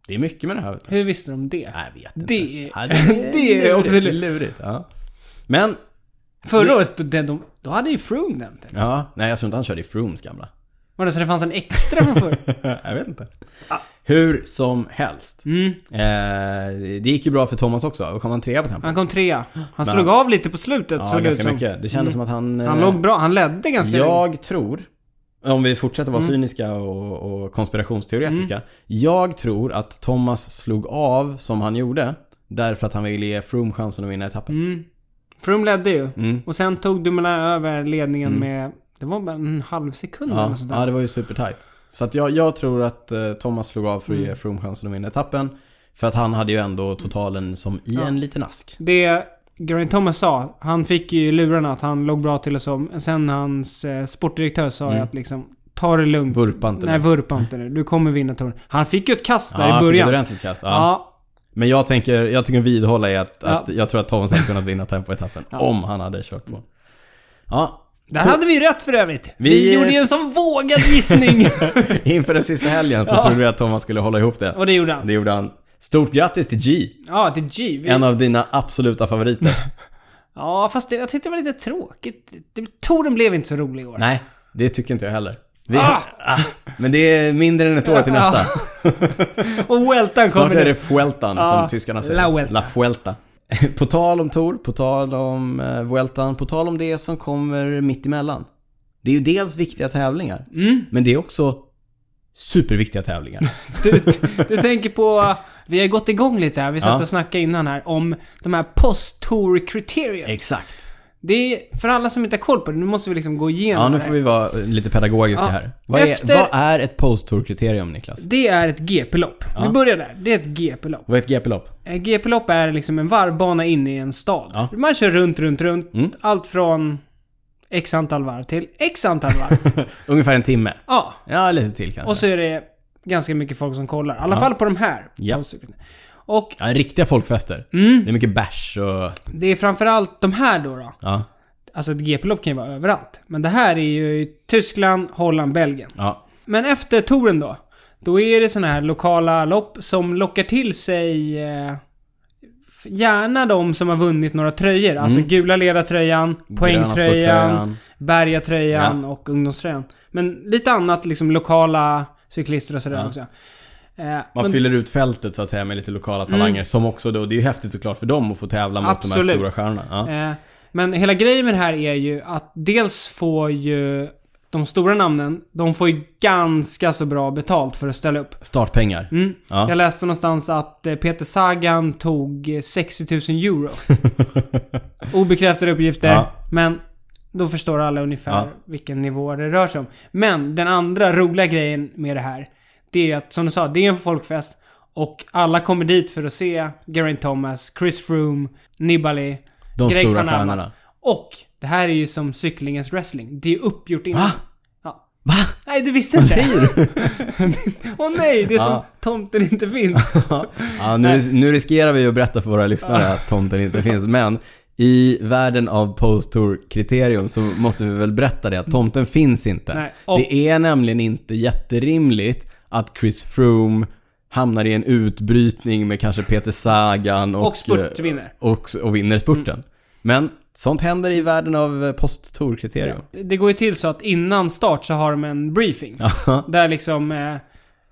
Speaker 2: Det är mycket med det här vet du.
Speaker 1: Hur visste de det?
Speaker 2: Nej, jag vet inte.
Speaker 1: Det är-
Speaker 2: Ja,
Speaker 1: det är också
Speaker 2: lurigt. lurigt ja. Men,
Speaker 1: Förra året, då, den- de, då hade ju Froome den. typ.
Speaker 2: ja, nej jag tror inte han körde i Froomes gamla.
Speaker 1: Var det så det fanns en extra från förr?
Speaker 2: jag vet inte.
Speaker 1: Ah.
Speaker 2: Hur som helst.
Speaker 1: Mm.
Speaker 2: Eh, det gick ju bra för Thomas också. Då kom han trea på tempo.
Speaker 1: Han kom trea. Han slog av lite på slutet
Speaker 2: Ja,
Speaker 1: såg det ut
Speaker 2: ganska
Speaker 1: som.
Speaker 2: mycket. Det kändes som att han... eh,
Speaker 1: Mm. Han låg bra. Han ledde ganska länge.
Speaker 2: Jag tror, om vi fortsätter
Speaker 1: Mm.
Speaker 2: vara cyniska och, och konspirationsteoretiska. Jag tror att Thomas slog av som han gjorde därför att han ville ge Froome chansen att vinna etappen.
Speaker 1: Mm, Froome ledde ju.
Speaker 2: Mm.
Speaker 1: Och sen tog Dumoulin över ledningen med... Det var bara en halv sekund eller
Speaker 2: Ja,
Speaker 1: något sånt där.
Speaker 2: ja, det var ju supertight. Så att jag, jag tror att eh, Thomas slog av för att
Speaker 1: Mm.
Speaker 2: ge Froome chansen att vinna etappen. För att han hade ju ändå totalen som i en liten ask.
Speaker 1: Det Geraint Thomas sa, han fick ju lurarna att han låg bra till och så. Sen hans eh, sportdirektör sa ju att liksom, ta det lugnt.
Speaker 2: Mm. Vurpa inte
Speaker 1: Nej,
Speaker 2: nu.
Speaker 1: vurpa inte nu. Du kommer vinna touren. Han fick ju ett kast där
Speaker 2: Ja,
Speaker 1: i
Speaker 2: han fick ett
Speaker 1: början.
Speaker 2: ordentligt kast. Ja.
Speaker 1: Ja,
Speaker 2: Men jag tänker, jag tänker vidhålla i att,
Speaker 1: Ja. Mm.
Speaker 2: att jag tror att Thomas hade kunnat vinna tempoetappen om han hade kört på. Ja,
Speaker 1: där hade vi rätt för övrigt. Vi,
Speaker 2: Vi-
Speaker 1: gjorde ju en sån vågad gissning.
Speaker 2: inför den sista helgen så trodde vi att Thomas skulle hålla ihop det.
Speaker 1: och det gjorde han.
Speaker 2: Det gjorde han. Stort grattis till G!
Speaker 1: Ja, till G. Vi...
Speaker 2: En av dina absoluta favoriter.
Speaker 1: Ja, fast det, jag tyckte det var lite tråkigt. Det, touren blev inte så rolig i år.
Speaker 2: Nej, det tycker inte jag heller. Vi,
Speaker 1: Ah!
Speaker 2: Ah, Men det är mindre än ett år till
Speaker 1: Ja.
Speaker 2: nästa.
Speaker 1: Och Weltan
Speaker 2: Snart
Speaker 1: kommer nu.
Speaker 2: är det Fueltan
Speaker 1: Ja,
Speaker 2: som tyskarna
Speaker 1: La
Speaker 2: säger.
Speaker 1: Vuelta.
Speaker 2: La Fuelta. På tal om Tor, på tal om eh, Vueltan, på tal om det som kommer mitt emellan. Det är ju dels viktiga tävlingar,
Speaker 1: Mm.
Speaker 2: men det är också superviktiga tävlingar.
Speaker 1: Du, du tänker på... Vi har gått igång lite här. Vi satt
Speaker 2: Ja.
Speaker 1: och snackade innan här om de här post-tour criteria.
Speaker 2: Exakt.
Speaker 1: Det är, för alla som inte har koll på det, nu måste vi liksom gå igenom
Speaker 2: Ja, nu
Speaker 1: det här.
Speaker 2: får vi vara eh, lite pedagogiska
Speaker 1: Ja.
Speaker 2: här. Vad,
Speaker 1: Efter-
Speaker 2: är, vad är ett post-tour-kriterium, Niklas?
Speaker 1: Det är ett GP-lopp. Vi börjar där. Det är ett GP-lopp.
Speaker 2: Vad är ett GP-lopp?
Speaker 1: Ett GP-lopp är liksom en varvbana inne i en stad.
Speaker 2: Ja. Mm.
Speaker 1: Man kör runt, runt, runt. Allt från x antal varv till x antal varv.
Speaker 2: Ungefär en timme.
Speaker 1: ja.
Speaker 2: Ja, lite till kanske.
Speaker 1: Och så är det ganska mycket folk som kollar. I alla fall på de här.
Speaker 2: Ja.
Speaker 1: post-tour. Och
Speaker 2: Ja, riktiga folkfester.
Speaker 1: Mm.
Speaker 2: Det är mycket bärs och...
Speaker 1: det är framförallt de här då. då.
Speaker 2: Ja,
Speaker 1: Alltså ett GP-lopp kan ju vara överallt. Men det här är ju i Tyskland, Holland, Belgien.
Speaker 2: ja.
Speaker 1: Men efter touren då? Då är det såna här lokala lopp som lockar till sig eh, f- gärna de som har vunnit några tröjor. Alltså gula ledartröjan, poängtröjan,
Speaker 2: Mm. sporttröjan.
Speaker 1: bergatröjan och ungdomströjan. Men lite annat liksom lokala cyklister och sådär också. Eh,
Speaker 2: Man
Speaker 1: men- Mm.
Speaker 2: fyller ut fältet så att säga med lite lokala talanger som också då, det är ju häftigt såklart för dem att få tävla mot de
Speaker 1: Absolut.
Speaker 2: här stora stjärnorna. Ja.
Speaker 1: Eh, Men hela grejen med det här är ju att dels får ju de stora namnen, de får ju ganska så bra betalt för att ställa upp.
Speaker 2: Startpengar.
Speaker 1: Mm.
Speaker 2: Ja.
Speaker 1: Jag läste någonstans att eh, Peter Sagan tog eh, 60 000 euro. Obekräftade uppgifter,
Speaker 2: Ja.
Speaker 1: men då förstår alla ungefär
Speaker 2: Ja.
Speaker 1: vilken nivå det rör sig om. Men den andra roliga grejen med det här, det är att som du sa, det är en folkfest och alla kommer dit för att se Geraint Thomas, Chris Froome, Nibali,
Speaker 2: De
Speaker 1: Greg
Speaker 2: stora
Speaker 1: van Avermaet.
Speaker 2: stjärnorna.
Speaker 1: Och det här är ju som cyklingens wrestling. Det är uppgjort innan.
Speaker 2: Va?
Speaker 1: Ja.
Speaker 2: Va?
Speaker 1: Nej, du visste inte. Åh nej, det är som
Speaker 2: Ja.
Speaker 1: tomten inte finns.
Speaker 2: ja, nu, nu riskerar vi att berätta för våra lyssnare att tomten inte finns, men i världen av post-tour-kriterium så måste vi väl berätta det att tomten finns inte.
Speaker 1: Nej, och-
Speaker 2: Det är nämligen inte jätterimligt att Chris Froome hamnar i en utbrytning med kanske Peter Sagan och... eh,
Speaker 1: Och Mm. spurtvinner.
Speaker 2: Och, och vinner spurten. Men sånt händer i världen av eh, post-tour-kriterium.
Speaker 1: Det går ju till så att innan start så har de en briefing. Där liksom eh,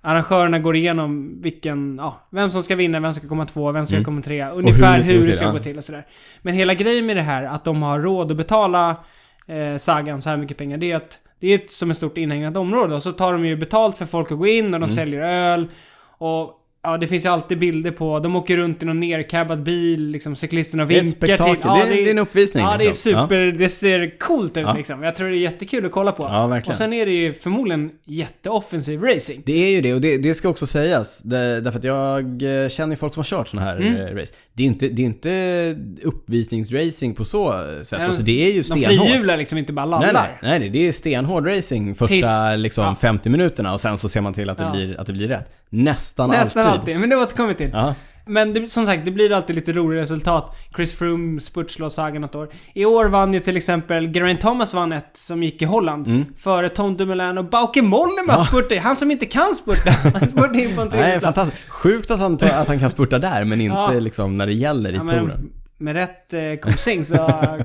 Speaker 1: arrangörerna går igenom vilken, ja, vem som ska vinna, vem som ska komma två, vem som ska komma trea. Ungefär
Speaker 2: Mm. det ska
Speaker 1: hur
Speaker 2: gå
Speaker 1: det
Speaker 2: till,
Speaker 1: ska
Speaker 2: ja.
Speaker 1: gå till och sådär. Men hela grejen med det här, att de har råd att betala eh, Sagan så här mycket pengar, det är att det är ett, som ett stort inhägnat område och så tar de ju betalt för folk att gå in och
Speaker 2: Mm.
Speaker 1: de säljer öl och Ja, det finns ju alltid bilder på. De åker runt i någon nercabbad bil, liksom cyklisterna
Speaker 2: Det är ett
Speaker 1: vinkar till.
Speaker 2: spektakel. Det är- det är en uppvisning,
Speaker 1: Ja, det är
Speaker 2: liksom. Ja.
Speaker 1: super... Det ser coolt ut liksom. Jag tror det är jättekul att kolla på.
Speaker 2: Ja, verkligen.
Speaker 1: Och sen är det ju förmodligen jätteoffensiv racing.
Speaker 2: Det är ju det och det, det ska också sägas. Det, därför att jag eh, känner ju folk som har kört såna här
Speaker 1: Mm.
Speaker 2: eh, race. Det är ju inte, det är inte uppvisningsracing på så sätt. Alltså det är ju
Speaker 1: De
Speaker 2: stenhårt.
Speaker 1: frihjular liksom inte bara
Speaker 2: Nej,
Speaker 1: lallar.
Speaker 2: nej, nej, nej, det är stenhård racing första
Speaker 1: Tills-
Speaker 2: liksom, 50 minuterna och sen så ser man till att det,
Speaker 1: Ja.
Speaker 2: blir, att det blir rätt. Nästan,
Speaker 1: Nästan alltid.
Speaker 2: alltid.
Speaker 1: Men det återkommer vi till.
Speaker 2: Ja.
Speaker 1: Men det, som sagt, det blir alltid lite roliga resultat. Chris Froome spurtslår Sagan något år. I år vann ju till exempel Geraint Thomas vann ett som gick i Holland.
Speaker 2: Mm.
Speaker 1: Före Tom Dumoulin och Bauke Mollema spurtade Han som inte kan spurta. Han spurtade in på en tredje
Speaker 2: Nej,
Speaker 1: plats.
Speaker 2: fantastiskt. Sjukt att han, att han kan spurta där, men inte
Speaker 1: Ja.
Speaker 2: liksom när det gäller i
Speaker 1: Ja,
Speaker 2: touren.
Speaker 1: men med rätt eh, coaching så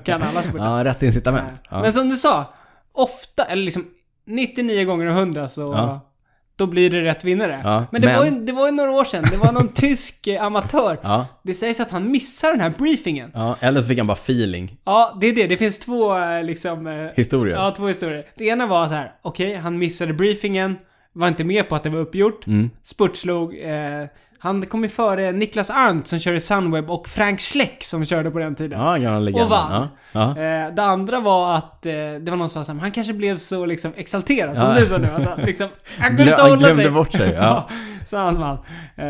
Speaker 1: kan alla spurta.
Speaker 2: Ja, rätt incitament. Ja.
Speaker 1: Men som du sa, ofta, eller liksom 99 gånger av 100 så...
Speaker 2: Ja.
Speaker 1: Då blir det rätt vinnare.
Speaker 2: Ja,
Speaker 1: men det,
Speaker 2: men-
Speaker 1: Var ju, det var ju några år sedan. Det var någon tysk eh, amatör.
Speaker 2: Ja.
Speaker 1: Det sägs att han missar den här briefingen.
Speaker 2: Ja, eller så fick han bara feeling.
Speaker 1: Ja, det är det. Det finns två eh, liksom... eh,
Speaker 2: Historia.
Speaker 1: Ja, två historier. Det ena var så här, okej, han missade briefingen, var inte med på att det var uppgjort,
Speaker 2: Mm.
Speaker 1: spurtslog. Eh, han kom ju före Niklas Arndt som körde Sunweb och Frank Schleck som körde på den tiden.
Speaker 2: Ja, gamla legenden.
Speaker 1: Och vann.
Speaker 2: Ja. Ja.
Speaker 1: Eh, det andra var att eh, det var någon som sa så här, han kanske blev så liksom exalterad som
Speaker 2: Ja.
Speaker 1: du sa nu. Att han, liksom, han
Speaker 2: Glö-
Speaker 1: kunde inte
Speaker 2: han
Speaker 1: hålla sig.
Speaker 2: glömde bort sig, ja.
Speaker 1: så han vann. Eh,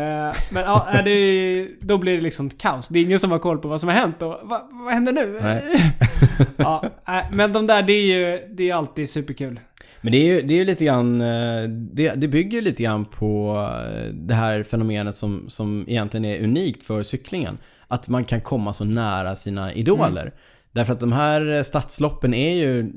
Speaker 1: men ja, eh, det, är- då blir det liksom kaos. Det är ingen som har koll på vad som har hänt och vad, vad händer nu?
Speaker 2: Nej.
Speaker 1: ja, eh, men de där, det är ju det är alltid superkul.
Speaker 2: Men det är ju, det är ju lite grann, eh, det, det bygger ju lite grann på eh, det här fenomenet som, som egentligen är unikt för cyklingen. Att man kan komma så nära sina idoler.
Speaker 1: Mm.
Speaker 2: Därför att de här eh, stadsloppen är ju,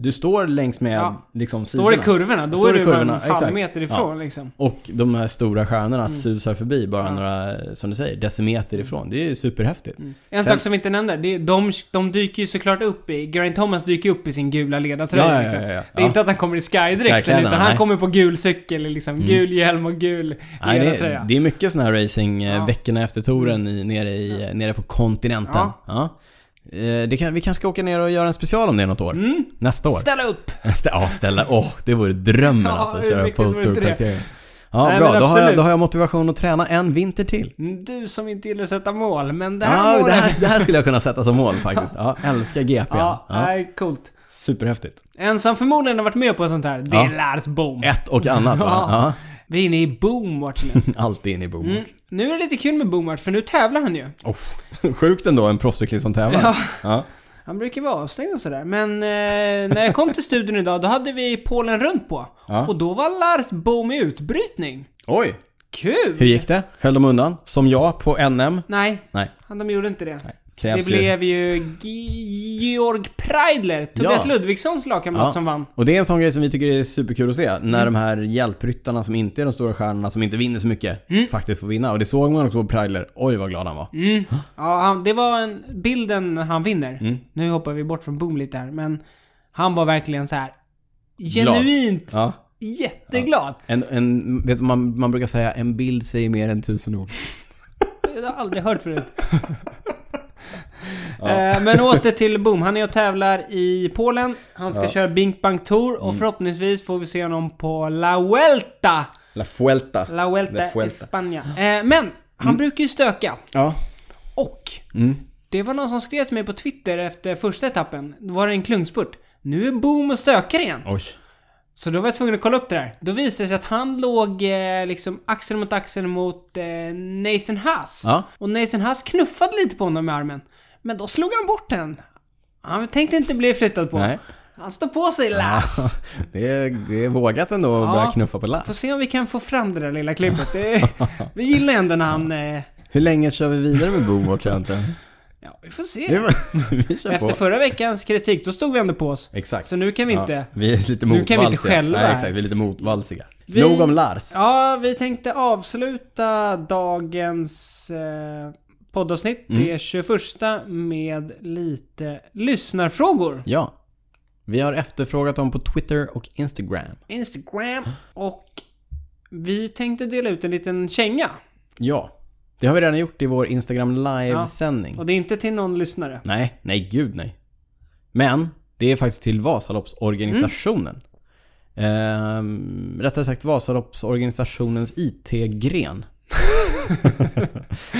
Speaker 2: du står längs med
Speaker 1: Ja.
Speaker 2: liksom
Speaker 1: Står i
Speaker 2: sidorna.
Speaker 1: kurvorna, då
Speaker 2: Står
Speaker 1: är
Speaker 2: i
Speaker 1: du bara en
Speaker 2: kurvorna,
Speaker 1: halv
Speaker 2: exakt.
Speaker 1: meter ifrån liksom.
Speaker 2: Och de här stora stjärnorna
Speaker 1: Mm.
Speaker 2: susar förbi bara några, som du säger, decimeter ifrån. Det är ju superhäftigt.
Speaker 1: En
Speaker 2: Sen-
Speaker 1: sak som vi inte nämnde, det är, de, de dyker ju såklart upp i... Geraint Thomas dyker upp i sin gula ledartröja
Speaker 2: Ja, ja, ja,
Speaker 1: liksom.
Speaker 2: ja, ja.
Speaker 1: Det är inte att han kommer i skydräkten
Speaker 2: Skykläderna,
Speaker 1: utan han
Speaker 2: nej.
Speaker 1: kommer på gul cykel, liksom gul hjälm och gul
Speaker 2: Nej, det,
Speaker 1: ledartröja.
Speaker 2: är- det är mycket sån här racing eh,
Speaker 1: Ja. Mm.
Speaker 2: veckorna efter touren i, nere, i, eh, nere på kontinenten.
Speaker 1: Ja.
Speaker 2: Ja. Eh, Det kan, vi kanske ska åka ner och göra en special om det något år.
Speaker 1: Mm.
Speaker 2: Nästa år.
Speaker 1: Ställa upp!
Speaker 2: Ställa. Ja, ställa. Åh, det vore drömmen
Speaker 1: Ja,
Speaker 2: alltså. Att
Speaker 1: hur
Speaker 2: köra
Speaker 1: mycket vore
Speaker 2: post tour
Speaker 1: inte det?
Speaker 2: criteria. Ja,
Speaker 1: Nej,
Speaker 2: bra.
Speaker 1: men
Speaker 2: Då har,
Speaker 1: absolut.
Speaker 2: jag, då har jag motivation att träna en vinter till.
Speaker 1: Mm, Du som inte gillar att sätta mål, men det här
Speaker 2: Ja, det,
Speaker 1: målet...
Speaker 2: här, det här skulle jag kunna sätta som mål faktiskt. Ja, älskar GP.
Speaker 1: Ja,
Speaker 2: Ja,
Speaker 1: nej, coolt.
Speaker 2: Superhäftigt.
Speaker 1: En som förmodligen har varit med på sånt här, det är Lars Boom.
Speaker 2: Ett och annat va?
Speaker 1: Ja. Mm.
Speaker 2: Ja.
Speaker 1: Vi är inne i Boomwatch nu.
Speaker 2: Alltid in i boom.
Speaker 1: Nu är det lite kul med Boomwatch, för nu tävlar han ju.
Speaker 2: Oh, sjukt ändå, en proffscyklist som tävlar.
Speaker 1: Ja.
Speaker 2: Ja.
Speaker 1: Han brukar vara avstängd och sådär, men eh, när jag kom till studion idag då hade vi Polen runt på.
Speaker 2: Ja.
Speaker 1: Och då var Lars Boom i utbrytning.
Speaker 2: Oj!
Speaker 1: Kul!
Speaker 2: Hur gick det? Höll de undan? Som jag på NM?
Speaker 1: Nej,
Speaker 2: Nej.
Speaker 1: han, de gjorde inte det.
Speaker 2: Krävs
Speaker 1: Det blev ju G- Georg Preidler, Tobias
Speaker 2: Ja.
Speaker 1: Ludvigssons lagkamrat som vann. Mm.
Speaker 2: Och det är en sån grej som vi tycker är superkul att se. När de här hjälpryttarna som inte är de stora stjärnorna, som inte vinner så mycket, faktiskt får vinna. Och det såg man också på Pragler. Oj vad glad han var.
Speaker 1: Mm. Ja, han, det var en, bilden han vinner.
Speaker 2: Mm.
Speaker 1: Nu hoppar vi bort från Boom lite här, men han var verkligen så här
Speaker 2: Glad.
Speaker 1: genuint
Speaker 2: Ja.
Speaker 1: jätteglad.
Speaker 2: En, en, vet du, man, man brukar säga en bild säger mer än tusen ord.
Speaker 1: Det har jag aldrig hört förut. Eh, Men åter till Boom. Han är och tävlar i Polen. Han ska köra Bink Bank Tour och förhoppningsvis får vi se honom på La Vuelta.
Speaker 2: La Fuelta.
Speaker 1: La Vuelta,
Speaker 2: La
Speaker 1: i Spanien. Eh, Men han brukar ju stöka.
Speaker 2: Ja.
Speaker 1: Och det var någon som skrev till mig på Twitter efter första etappen. Då var det en klungspurt. Nu är Boom och stökar igen.
Speaker 2: Oj.
Speaker 1: Så då var jag tvungen att kolla upp det där. Då visade det sig att han låg eh, liksom axel mot axel mot eh, Nathan Haas.
Speaker 2: Ja.
Speaker 1: Och Nathan Haas knuffade lite på honom med armen. Men då slog han bort den. Han tänkte inte bli flyttad på.
Speaker 2: Nej.
Speaker 1: Han står på sig Lass.
Speaker 2: Det är, det är vågat ändå att
Speaker 1: Ja.
Speaker 2: börja knuffa på
Speaker 1: Får
Speaker 2: lass.
Speaker 1: se om vi kan få fram det där lilla klippet. Det, vi gillar ändå när han... Eh,
Speaker 2: Hur länge kör vi vidare med Boomwatch egentligen?
Speaker 1: ja, vi får se.
Speaker 2: Det var- vi kör
Speaker 1: Efter
Speaker 2: på.
Speaker 1: förra veckans kritik, då stod vi ändå på oss.
Speaker 2: Exakt.
Speaker 1: Så nu kan vi inte...
Speaker 2: Vi är lite
Speaker 1: Nu
Speaker 2: motvalsiga.
Speaker 1: kan vi inte skälla här.
Speaker 2: Nej, exakt. Vi är lite motvalsiga.
Speaker 1: Vi-
Speaker 2: Nog om Lars.
Speaker 1: Ja, vi tänkte avsluta dagens eh, poddavsnitt,
Speaker 2: Mm.
Speaker 1: det 21, med lite lyssnarfrågor.
Speaker 2: Ja. Vi har efterfrågat dem på Twitter och Instagram.
Speaker 1: Instagram. Och vi tänkte dela ut en liten känga.
Speaker 2: Ja. Det har vi redan gjort i vår Instagram live-sändning.
Speaker 1: Och det är inte till någon lyssnare.
Speaker 2: Nej, nej gud nej. Men, det är faktiskt till Vasaloppsorganisationen. Ehm, rättare sagt Vasaloppsorganisationens IT-gren.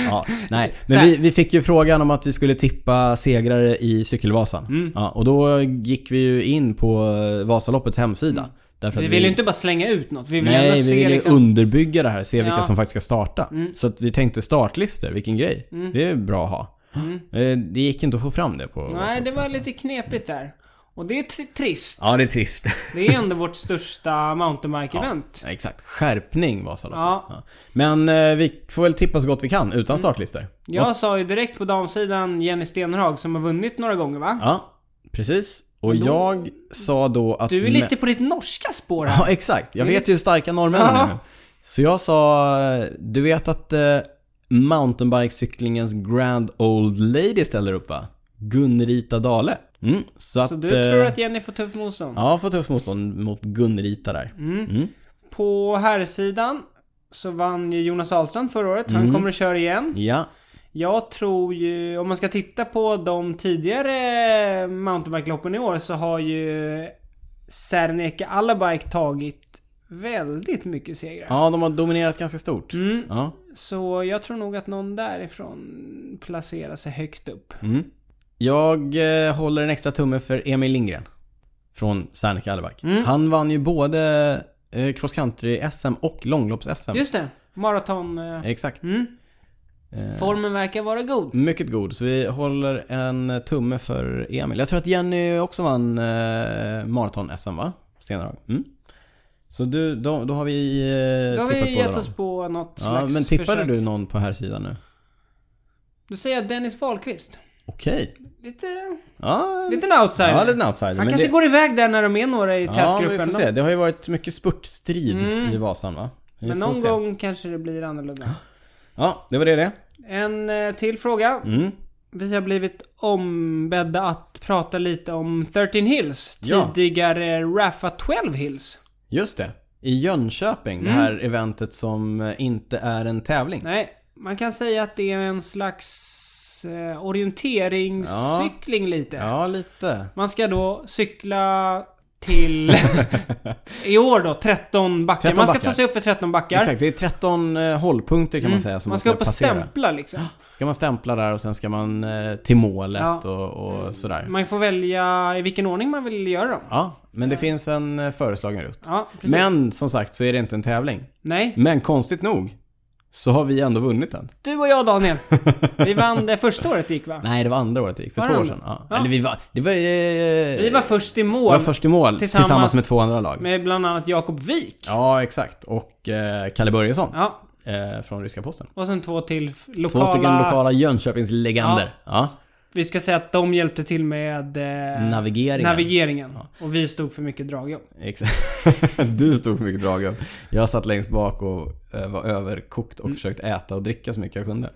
Speaker 2: ja, nej.
Speaker 1: Så
Speaker 2: Men
Speaker 1: här.
Speaker 2: vi, vi fick ju frågan om att vi skulle tippa segrare i Cykelvasan. Ja, och då gick vi ju in på eh, Vasaloppets hemsida. Därför att
Speaker 1: Vi vill ju inte bara slänga ut något. Vi vill
Speaker 2: Nej,
Speaker 1: ändå
Speaker 2: vi
Speaker 1: se
Speaker 2: vill ju
Speaker 1: liksom...
Speaker 2: underbygga det här, se vilka
Speaker 1: Ja. Mm.
Speaker 2: som faktiskt ska starta. Så att vi tänkte startlistor, vilken grej.
Speaker 1: Mm.
Speaker 2: Det är bra att ha. Eh, Det gick inte att få fram det på...
Speaker 1: Nej, det var lite knepigt där. Och det är tri- trist.
Speaker 2: Ja, det är trist.
Speaker 1: Det är ändå vårt största mountainbike-event.
Speaker 2: Ja, exakt. Skärpning var saloppet.
Speaker 1: Ja. Mm.
Speaker 2: Ja. Men eh, vi får väl tippa så gott vi kan utan startlistor.
Speaker 1: Jag sa ju direkt på damsidan Jenny Stenhag som har vunnit några gånger va?
Speaker 2: Ja, precis. Och jag sa då att...
Speaker 1: Du är
Speaker 2: mä-
Speaker 1: lite på ditt norska spår här.
Speaker 2: Ja, exakt. Jag vet ju hur starka norrmännen
Speaker 1: Ja.
Speaker 2: är. Så jag sa, eh, du vet att eh, mountainbikecyklingens Grand Old Lady ställer upp va? Gunrita Dale. Mm, så,
Speaker 1: Så
Speaker 2: att,
Speaker 1: du
Speaker 2: eh,
Speaker 1: tror att Jenny får tuff motstånd?
Speaker 2: Ja, får tufft motstånd mot Gunrita där.
Speaker 1: Mm. På herrsidan så vann ju Jonas Ahlstrand förra året.
Speaker 2: Mm.
Speaker 1: Han kommer att köra igen.
Speaker 2: Ja.
Speaker 1: Jag tror ju, om man ska titta på de tidigare mountainbikeloppen i år så har ju Serneke Alabike tagit väldigt mycket segrar.
Speaker 2: ja, de har dominerat ganska stort.
Speaker 1: Mm.
Speaker 2: Ja.
Speaker 1: Så jag tror nog att någon därifrån placerar sig högt upp.
Speaker 2: Mm. Jag eh, håller en extra tumme för Emil Lindgren. Från Serneke Alback.
Speaker 1: Mm.
Speaker 2: Han vann ju både eh, cross country-SM och långlopps-SM.
Speaker 1: Just det, maraton... eh,
Speaker 2: Exakt. Eh.
Speaker 1: Formen verkar vara god.
Speaker 2: Mycket god, så vi håller en tumme för Emil. Jag tror att Jenny också vann eh, maraton-SM va? Senare. Mm. Så du, då, då har vi eh,
Speaker 1: Då har
Speaker 2: tippat
Speaker 1: vi
Speaker 2: båda
Speaker 1: gett
Speaker 2: dem.
Speaker 1: oss på något
Speaker 2: Ja,
Speaker 1: slags
Speaker 2: men tippade
Speaker 1: försök.
Speaker 2: du någon på här sidan nu?
Speaker 1: Då säger jag Dennis Wahlqvist.
Speaker 2: Okej.
Speaker 1: Lite...
Speaker 2: Ja,
Speaker 1: Lite en outsider.
Speaker 2: Ja, lite en outsider.
Speaker 1: Han
Speaker 2: men
Speaker 1: kanske
Speaker 2: det,
Speaker 1: går iväg där när de är några i
Speaker 2: Ja,
Speaker 1: tätgruppen.
Speaker 2: vi får se. Det har ju varit mycket spurtstrid i Vasan va? Vi
Speaker 1: Mm. Men
Speaker 2: får
Speaker 1: någon
Speaker 2: se.
Speaker 1: gång kanske det blir annorlunda.
Speaker 2: Ja, det var det det.
Speaker 1: En eh, till fråga.
Speaker 2: Mm.
Speaker 1: Vi har blivit ombedda att prata lite om 13 Hills.
Speaker 2: Ja.
Speaker 1: Tidigare Rafa 12 Hills.
Speaker 2: Just det. I Jönköping, det här eventet som eh, inte är en tävling.
Speaker 1: Mm. Nej, man kan säga att det är en slags eh, orienteringscykling lite.
Speaker 2: Ja, lite.
Speaker 1: Man ska då cykla till... I år då, 13 backar.
Speaker 2: 13
Speaker 1: man ska
Speaker 2: backar.
Speaker 1: ta sig upp för 13 backar.
Speaker 2: Exakt, det är 13 eh, hållpunkter kan man säga som
Speaker 1: Mm. Man ska upp och
Speaker 2: passera.
Speaker 1: stämpla liksom.
Speaker 2: Ska man stämpla där och sen ska man eh, till målet
Speaker 1: Ja.
Speaker 2: och, och sådär.
Speaker 1: Man får välja i vilken ordning man vill göra dem.
Speaker 2: Ja, men det finns en eh, föreslagen rutt.
Speaker 1: Ja, precis.
Speaker 2: men som sagt så är det inte en tävling.
Speaker 1: Nej.
Speaker 2: Men konstigt nog så har vi ändå vunnit den.
Speaker 1: Du och jag Daniel. Vi vann det första året det gick va?
Speaker 2: Nej, det var andra året det gick. För
Speaker 1: Var
Speaker 2: två
Speaker 1: det
Speaker 2: år
Speaker 1: andra?
Speaker 2: sedan. Ja.
Speaker 1: Ja.
Speaker 2: Eller vi var... Det var... Eh,
Speaker 1: Vi var först i mål.
Speaker 2: vi var först i mål tillsammans,
Speaker 1: tillsammans
Speaker 2: med två andra lag.
Speaker 1: Med bland annat Jakob Wik.
Speaker 2: Ja, exakt. Och eh, Kalle Börjesson.
Speaker 1: Ja.
Speaker 2: Eh, från Ryska Posten.
Speaker 1: Och sen två till f-
Speaker 2: Två
Speaker 1: lokala...
Speaker 2: stycken lokala Jönköpingslegender. Ja.
Speaker 1: Vi ska säga att de hjälpte till med... Eh,
Speaker 2: Navigeringen.
Speaker 1: navigeringen. Och vi stod för mycket dragjobb.
Speaker 2: Exakt. Du stod för mycket dragjobb. Jag satt längst bak och eh, var överkokt och försökte äta och dricka så mycket jag kunde.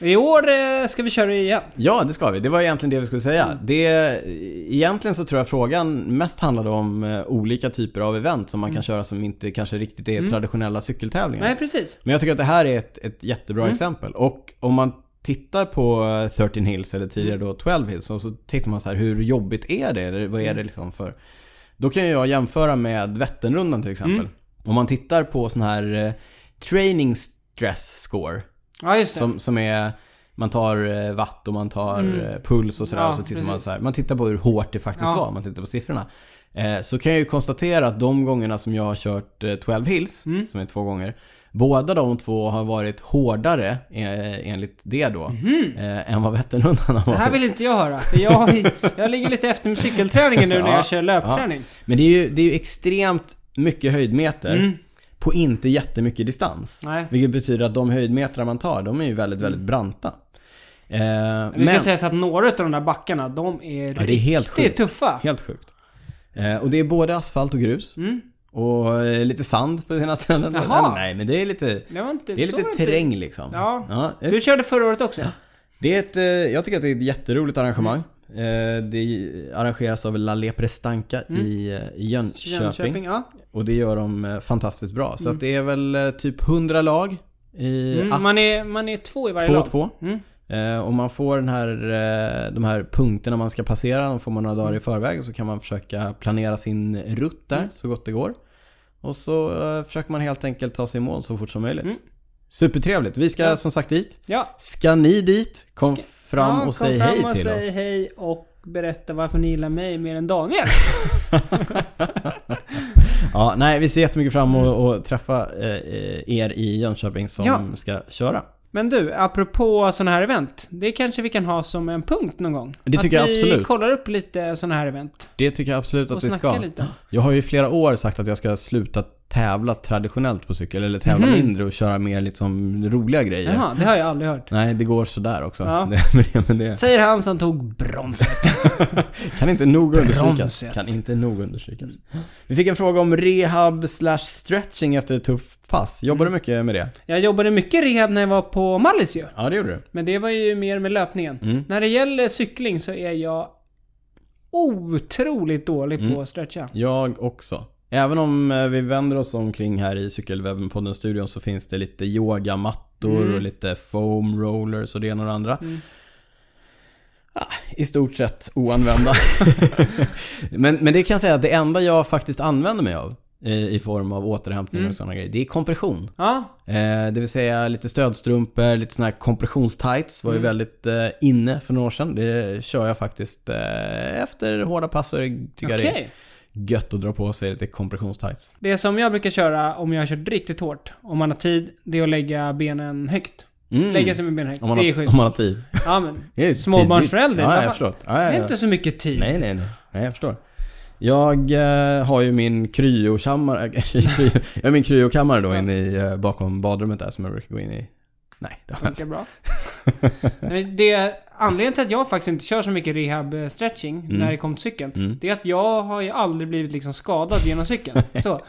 Speaker 1: I år eh, ska vi köra igen.
Speaker 2: Ja, det ska vi. Det var egentligen det vi skulle säga. Det, egentligen så tror jag frågan mest handlade om eh, olika typer av event som man kan köra som inte kanske riktigt är traditionella cykeltävlingar.
Speaker 1: Nej, precis.
Speaker 2: Men jag tycker att det här är ett, ett jättebra exempel. Och om man tittar på eh, 13 Hills eller tidigare då 12 Hills och så tittar man så här, hur jobbigt är det? Eller vad är det liksom för... Då kan ju jag jämföra med Vätternrundan till exempel. Om man tittar på sån här eh, training stress score
Speaker 1: Ja, just det.
Speaker 2: som, som är man tar eh, watt och man tar eh, puls och sådär
Speaker 1: Mm. Ja,
Speaker 2: och så tittar man
Speaker 1: precis.
Speaker 2: så här. Man tittar på hur hårt det faktiskt
Speaker 1: Ja.
Speaker 2: var. Man tittar på siffrorna. Eh, så kan jag ju konstatera att de gångerna som jag har kört eh, 12 hills,
Speaker 1: Mm.
Speaker 2: som är två gånger, båda de två har varit hårdare eh, enligt det då, eh, än vad Vätternrundan har
Speaker 1: Mhm. Det här
Speaker 2: varit.
Speaker 1: vill inte jag höra. För jag, jag ligger lite efter med cykelträningen nu när
Speaker 2: Ja.
Speaker 1: jag kör löpträning.
Speaker 2: Men det är ju, det är ju extremt mycket höjdmeter på inte jättemycket distans.
Speaker 1: Mm. Nej.
Speaker 2: Vilket betyder att de höjdmetrar man tar, de är ju väldigt, väldigt branta. Eh,
Speaker 1: Vi ska säga så att några av de där backarna, de är,
Speaker 2: Ja, det är helt
Speaker 1: riktigt
Speaker 2: sjukt.
Speaker 1: tuffa.
Speaker 2: Helt sjukt. Eh, och det är både asfalt och grus. Och eh, lite sand på sina ställen.
Speaker 1: Mm. Jaha.
Speaker 2: Nej, men det är lite...
Speaker 1: Det var inte...
Speaker 2: Det är
Speaker 1: så
Speaker 2: lite
Speaker 1: var det inte.
Speaker 2: terräng liksom.
Speaker 1: Ja.
Speaker 2: ett-
Speaker 1: Du körde förra året också?
Speaker 2: det är ett, eh, jag tycker att det är ett jätteroligt arrangemang.
Speaker 1: Mm.
Speaker 2: Eh, Det arrangeras av La Leprestanka i eh, i Jönköping.
Speaker 1: Mm. Jönköping, ja.
Speaker 2: Och det gör de eh, fantastiskt bra. Så att det är väl eh, typ 100 lag i
Speaker 1: Mm, man, är, man är Mm. två i varje
Speaker 2: Två
Speaker 1: lag.
Speaker 2: och två. Eh, och man får den här, eh, de här punkterna man ska passera, de får man några dagar i förväg och så kan man försöka planera sin rutt
Speaker 1: Mm.
Speaker 2: där så gott det går. Och så eh, försöker man helt enkelt ta sig i mål så fort som
Speaker 1: Mm.
Speaker 2: möjligt. Supertrevligt. Vi ska som sagt dit.
Speaker 1: Ja.
Speaker 2: Ska ni dit? Kom fram
Speaker 1: ja,
Speaker 2: och säg
Speaker 1: kom fram
Speaker 2: hej
Speaker 1: och
Speaker 2: till
Speaker 1: säg
Speaker 2: oss.
Speaker 1: hej och berätta varför ni gillar mig mer än Daniel.
Speaker 2: Ja, nej, vi ser jättemycket fram emot att träffa eh, eh, er i Jönköping som
Speaker 1: Ja.
Speaker 2: ska köra.
Speaker 1: Men du, apropå sådana här event. Det kanske vi kan ha som en punkt någon gång.
Speaker 2: Det tycker
Speaker 1: att
Speaker 2: jag
Speaker 1: vi
Speaker 2: absolut.
Speaker 1: kollar upp lite sådana här event.
Speaker 2: Det tycker jag absolut
Speaker 1: Och
Speaker 2: att vi
Speaker 1: snacka
Speaker 2: ska.
Speaker 1: lite.
Speaker 2: Jag har ju i flera år sagt att jag ska sluta tävla traditionellt på cykel, eller tävla mindre och köra mer liksom roliga grejer.
Speaker 1: Mhm. Jaha, det har jag aldrig hört.
Speaker 2: Nej, det går sådär också.
Speaker 1: Ja.
Speaker 2: Det, men det
Speaker 1: Säger han som tog bronset.
Speaker 2: kan inte nog understrykas.
Speaker 1: Bronset.
Speaker 2: Kan inte nog understrykas. Vi fick en fråga om rehab slash stretching efter ett tufft pass. Jobbar
Speaker 1: Mm.
Speaker 2: du mycket med det?
Speaker 1: Jag jobbade mycket rehab när jag var på Mallis ju.
Speaker 2: Ja, det gjorde du.
Speaker 1: Men det var ju mer med löpningen.
Speaker 2: Mm.
Speaker 1: När det gäller cykling så är jag otroligt dålig
Speaker 2: Mm.
Speaker 1: på att stretcha.
Speaker 2: Jag också. Även om eh, vi vänder oss omkring här i Cykelwebben-podden-studion så finns det lite yogamattor och lite foam rollers och det ena och det andra. Ah, I stort sett oanvända. men, men det kan jag säga att det enda jag faktiskt använder mig av eh, i form av återhämtning och sådana grejer, det är kompression.
Speaker 1: Ja,
Speaker 2: Eh, det vill säga lite stödstrumpor, lite sådana här kompressionstights var ju väldigt eh, inne för några år sedan. Det kör jag faktiskt eh, efter hårda pass så tycker jag
Speaker 1: okej.
Speaker 2: det är gött att dra på sig lite kompressionstights.
Speaker 1: Det som jag brukar köra om jag har kört riktigt hårt, om man har tid, det är att lägga benen högt.
Speaker 2: Mm.
Speaker 1: Lägga sig med benen högt.
Speaker 2: Om man,
Speaker 1: det är
Speaker 2: har, om
Speaker 1: schysst.
Speaker 2: man har tid.
Speaker 1: Ja, men.
Speaker 2: Det är ju
Speaker 1: Småbarnsförälder.
Speaker 2: tidigt.
Speaker 1: vad
Speaker 2: Ja,
Speaker 1: fan.
Speaker 2: jag förstår. Ja, ja,
Speaker 1: Det är
Speaker 2: ja.
Speaker 1: inte så mycket tid.
Speaker 2: Nej, nej, nej. Nej, jag förstår. Jag eh, har ju min kryokammare, jag har min kryokammare då inne i, eh, bakom badrummet där som jag brukar gå in i. Nej, det har jag inte.
Speaker 1: funkar bra. Nej, men det, anledningen till att jag faktiskt inte kör så mycket rehab-stretching
Speaker 2: Mm.
Speaker 1: när det kommer till cykeln. Det är att jag har ju aldrig blivit liksom skadad genom cykeln. Så.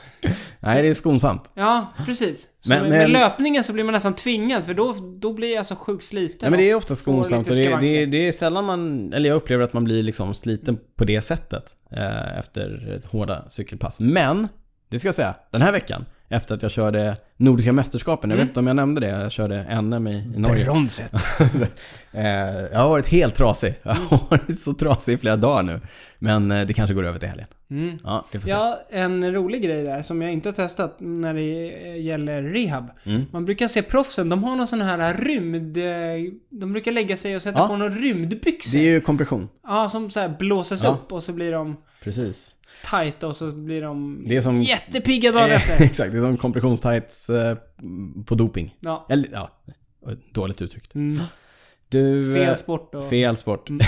Speaker 2: Nej, det är skonsamt.
Speaker 1: Ja, precis. Så
Speaker 2: Men-
Speaker 1: med, med
Speaker 2: men-
Speaker 1: löpningen så blir man nästan tvingad för då, då blir jag så sjukt sliten.
Speaker 2: Nej, men det är
Speaker 1: och
Speaker 2: ofta
Speaker 1: får lite
Speaker 2: skonsamt och det, det,
Speaker 1: skavanker.
Speaker 2: det är sällan man, eller jag upplever att man blir liksom sliten på det sättet eh, efter ett hårda cykelpass. Men, det ska jag säga, den här veckan efter att jag körde Nordiska mästerskapen, jag vet inte om jag nämnde det, jag körde NM i, i Norge.
Speaker 1: Mm. Bronset.
Speaker 2: Eh, jag har varit helt trasig. Jag har varit så trasig i flera dagar nu. Men eh, det kanske går över till helgen. Ja, vi får se.
Speaker 1: Mm. Ja, en rolig grej där som jag inte har testat när det eh, gäller rehab.
Speaker 2: Mm.
Speaker 1: Man brukar se proffsen, de har någon sån här rymd... eh, De brukar lägga sig och sätta
Speaker 2: Ja.
Speaker 1: på någon rymdbyxor.
Speaker 2: Det är ju kompression.
Speaker 1: Ja, som så här blåses upp och så blir de
Speaker 2: Precis.
Speaker 1: tajta och så blir de
Speaker 2: Det är som...
Speaker 1: jättepigga dagen
Speaker 2: eh,
Speaker 1: efter.
Speaker 2: Exakt, det är som kompressionstights eh, på doping.
Speaker 1: Ja,
Speaker 2: Eller, ja. Dåligt uttryckt. Du... eh,
Speaker 1: Mm. fel sport och... Mm.
Speaker 2: Fel sport.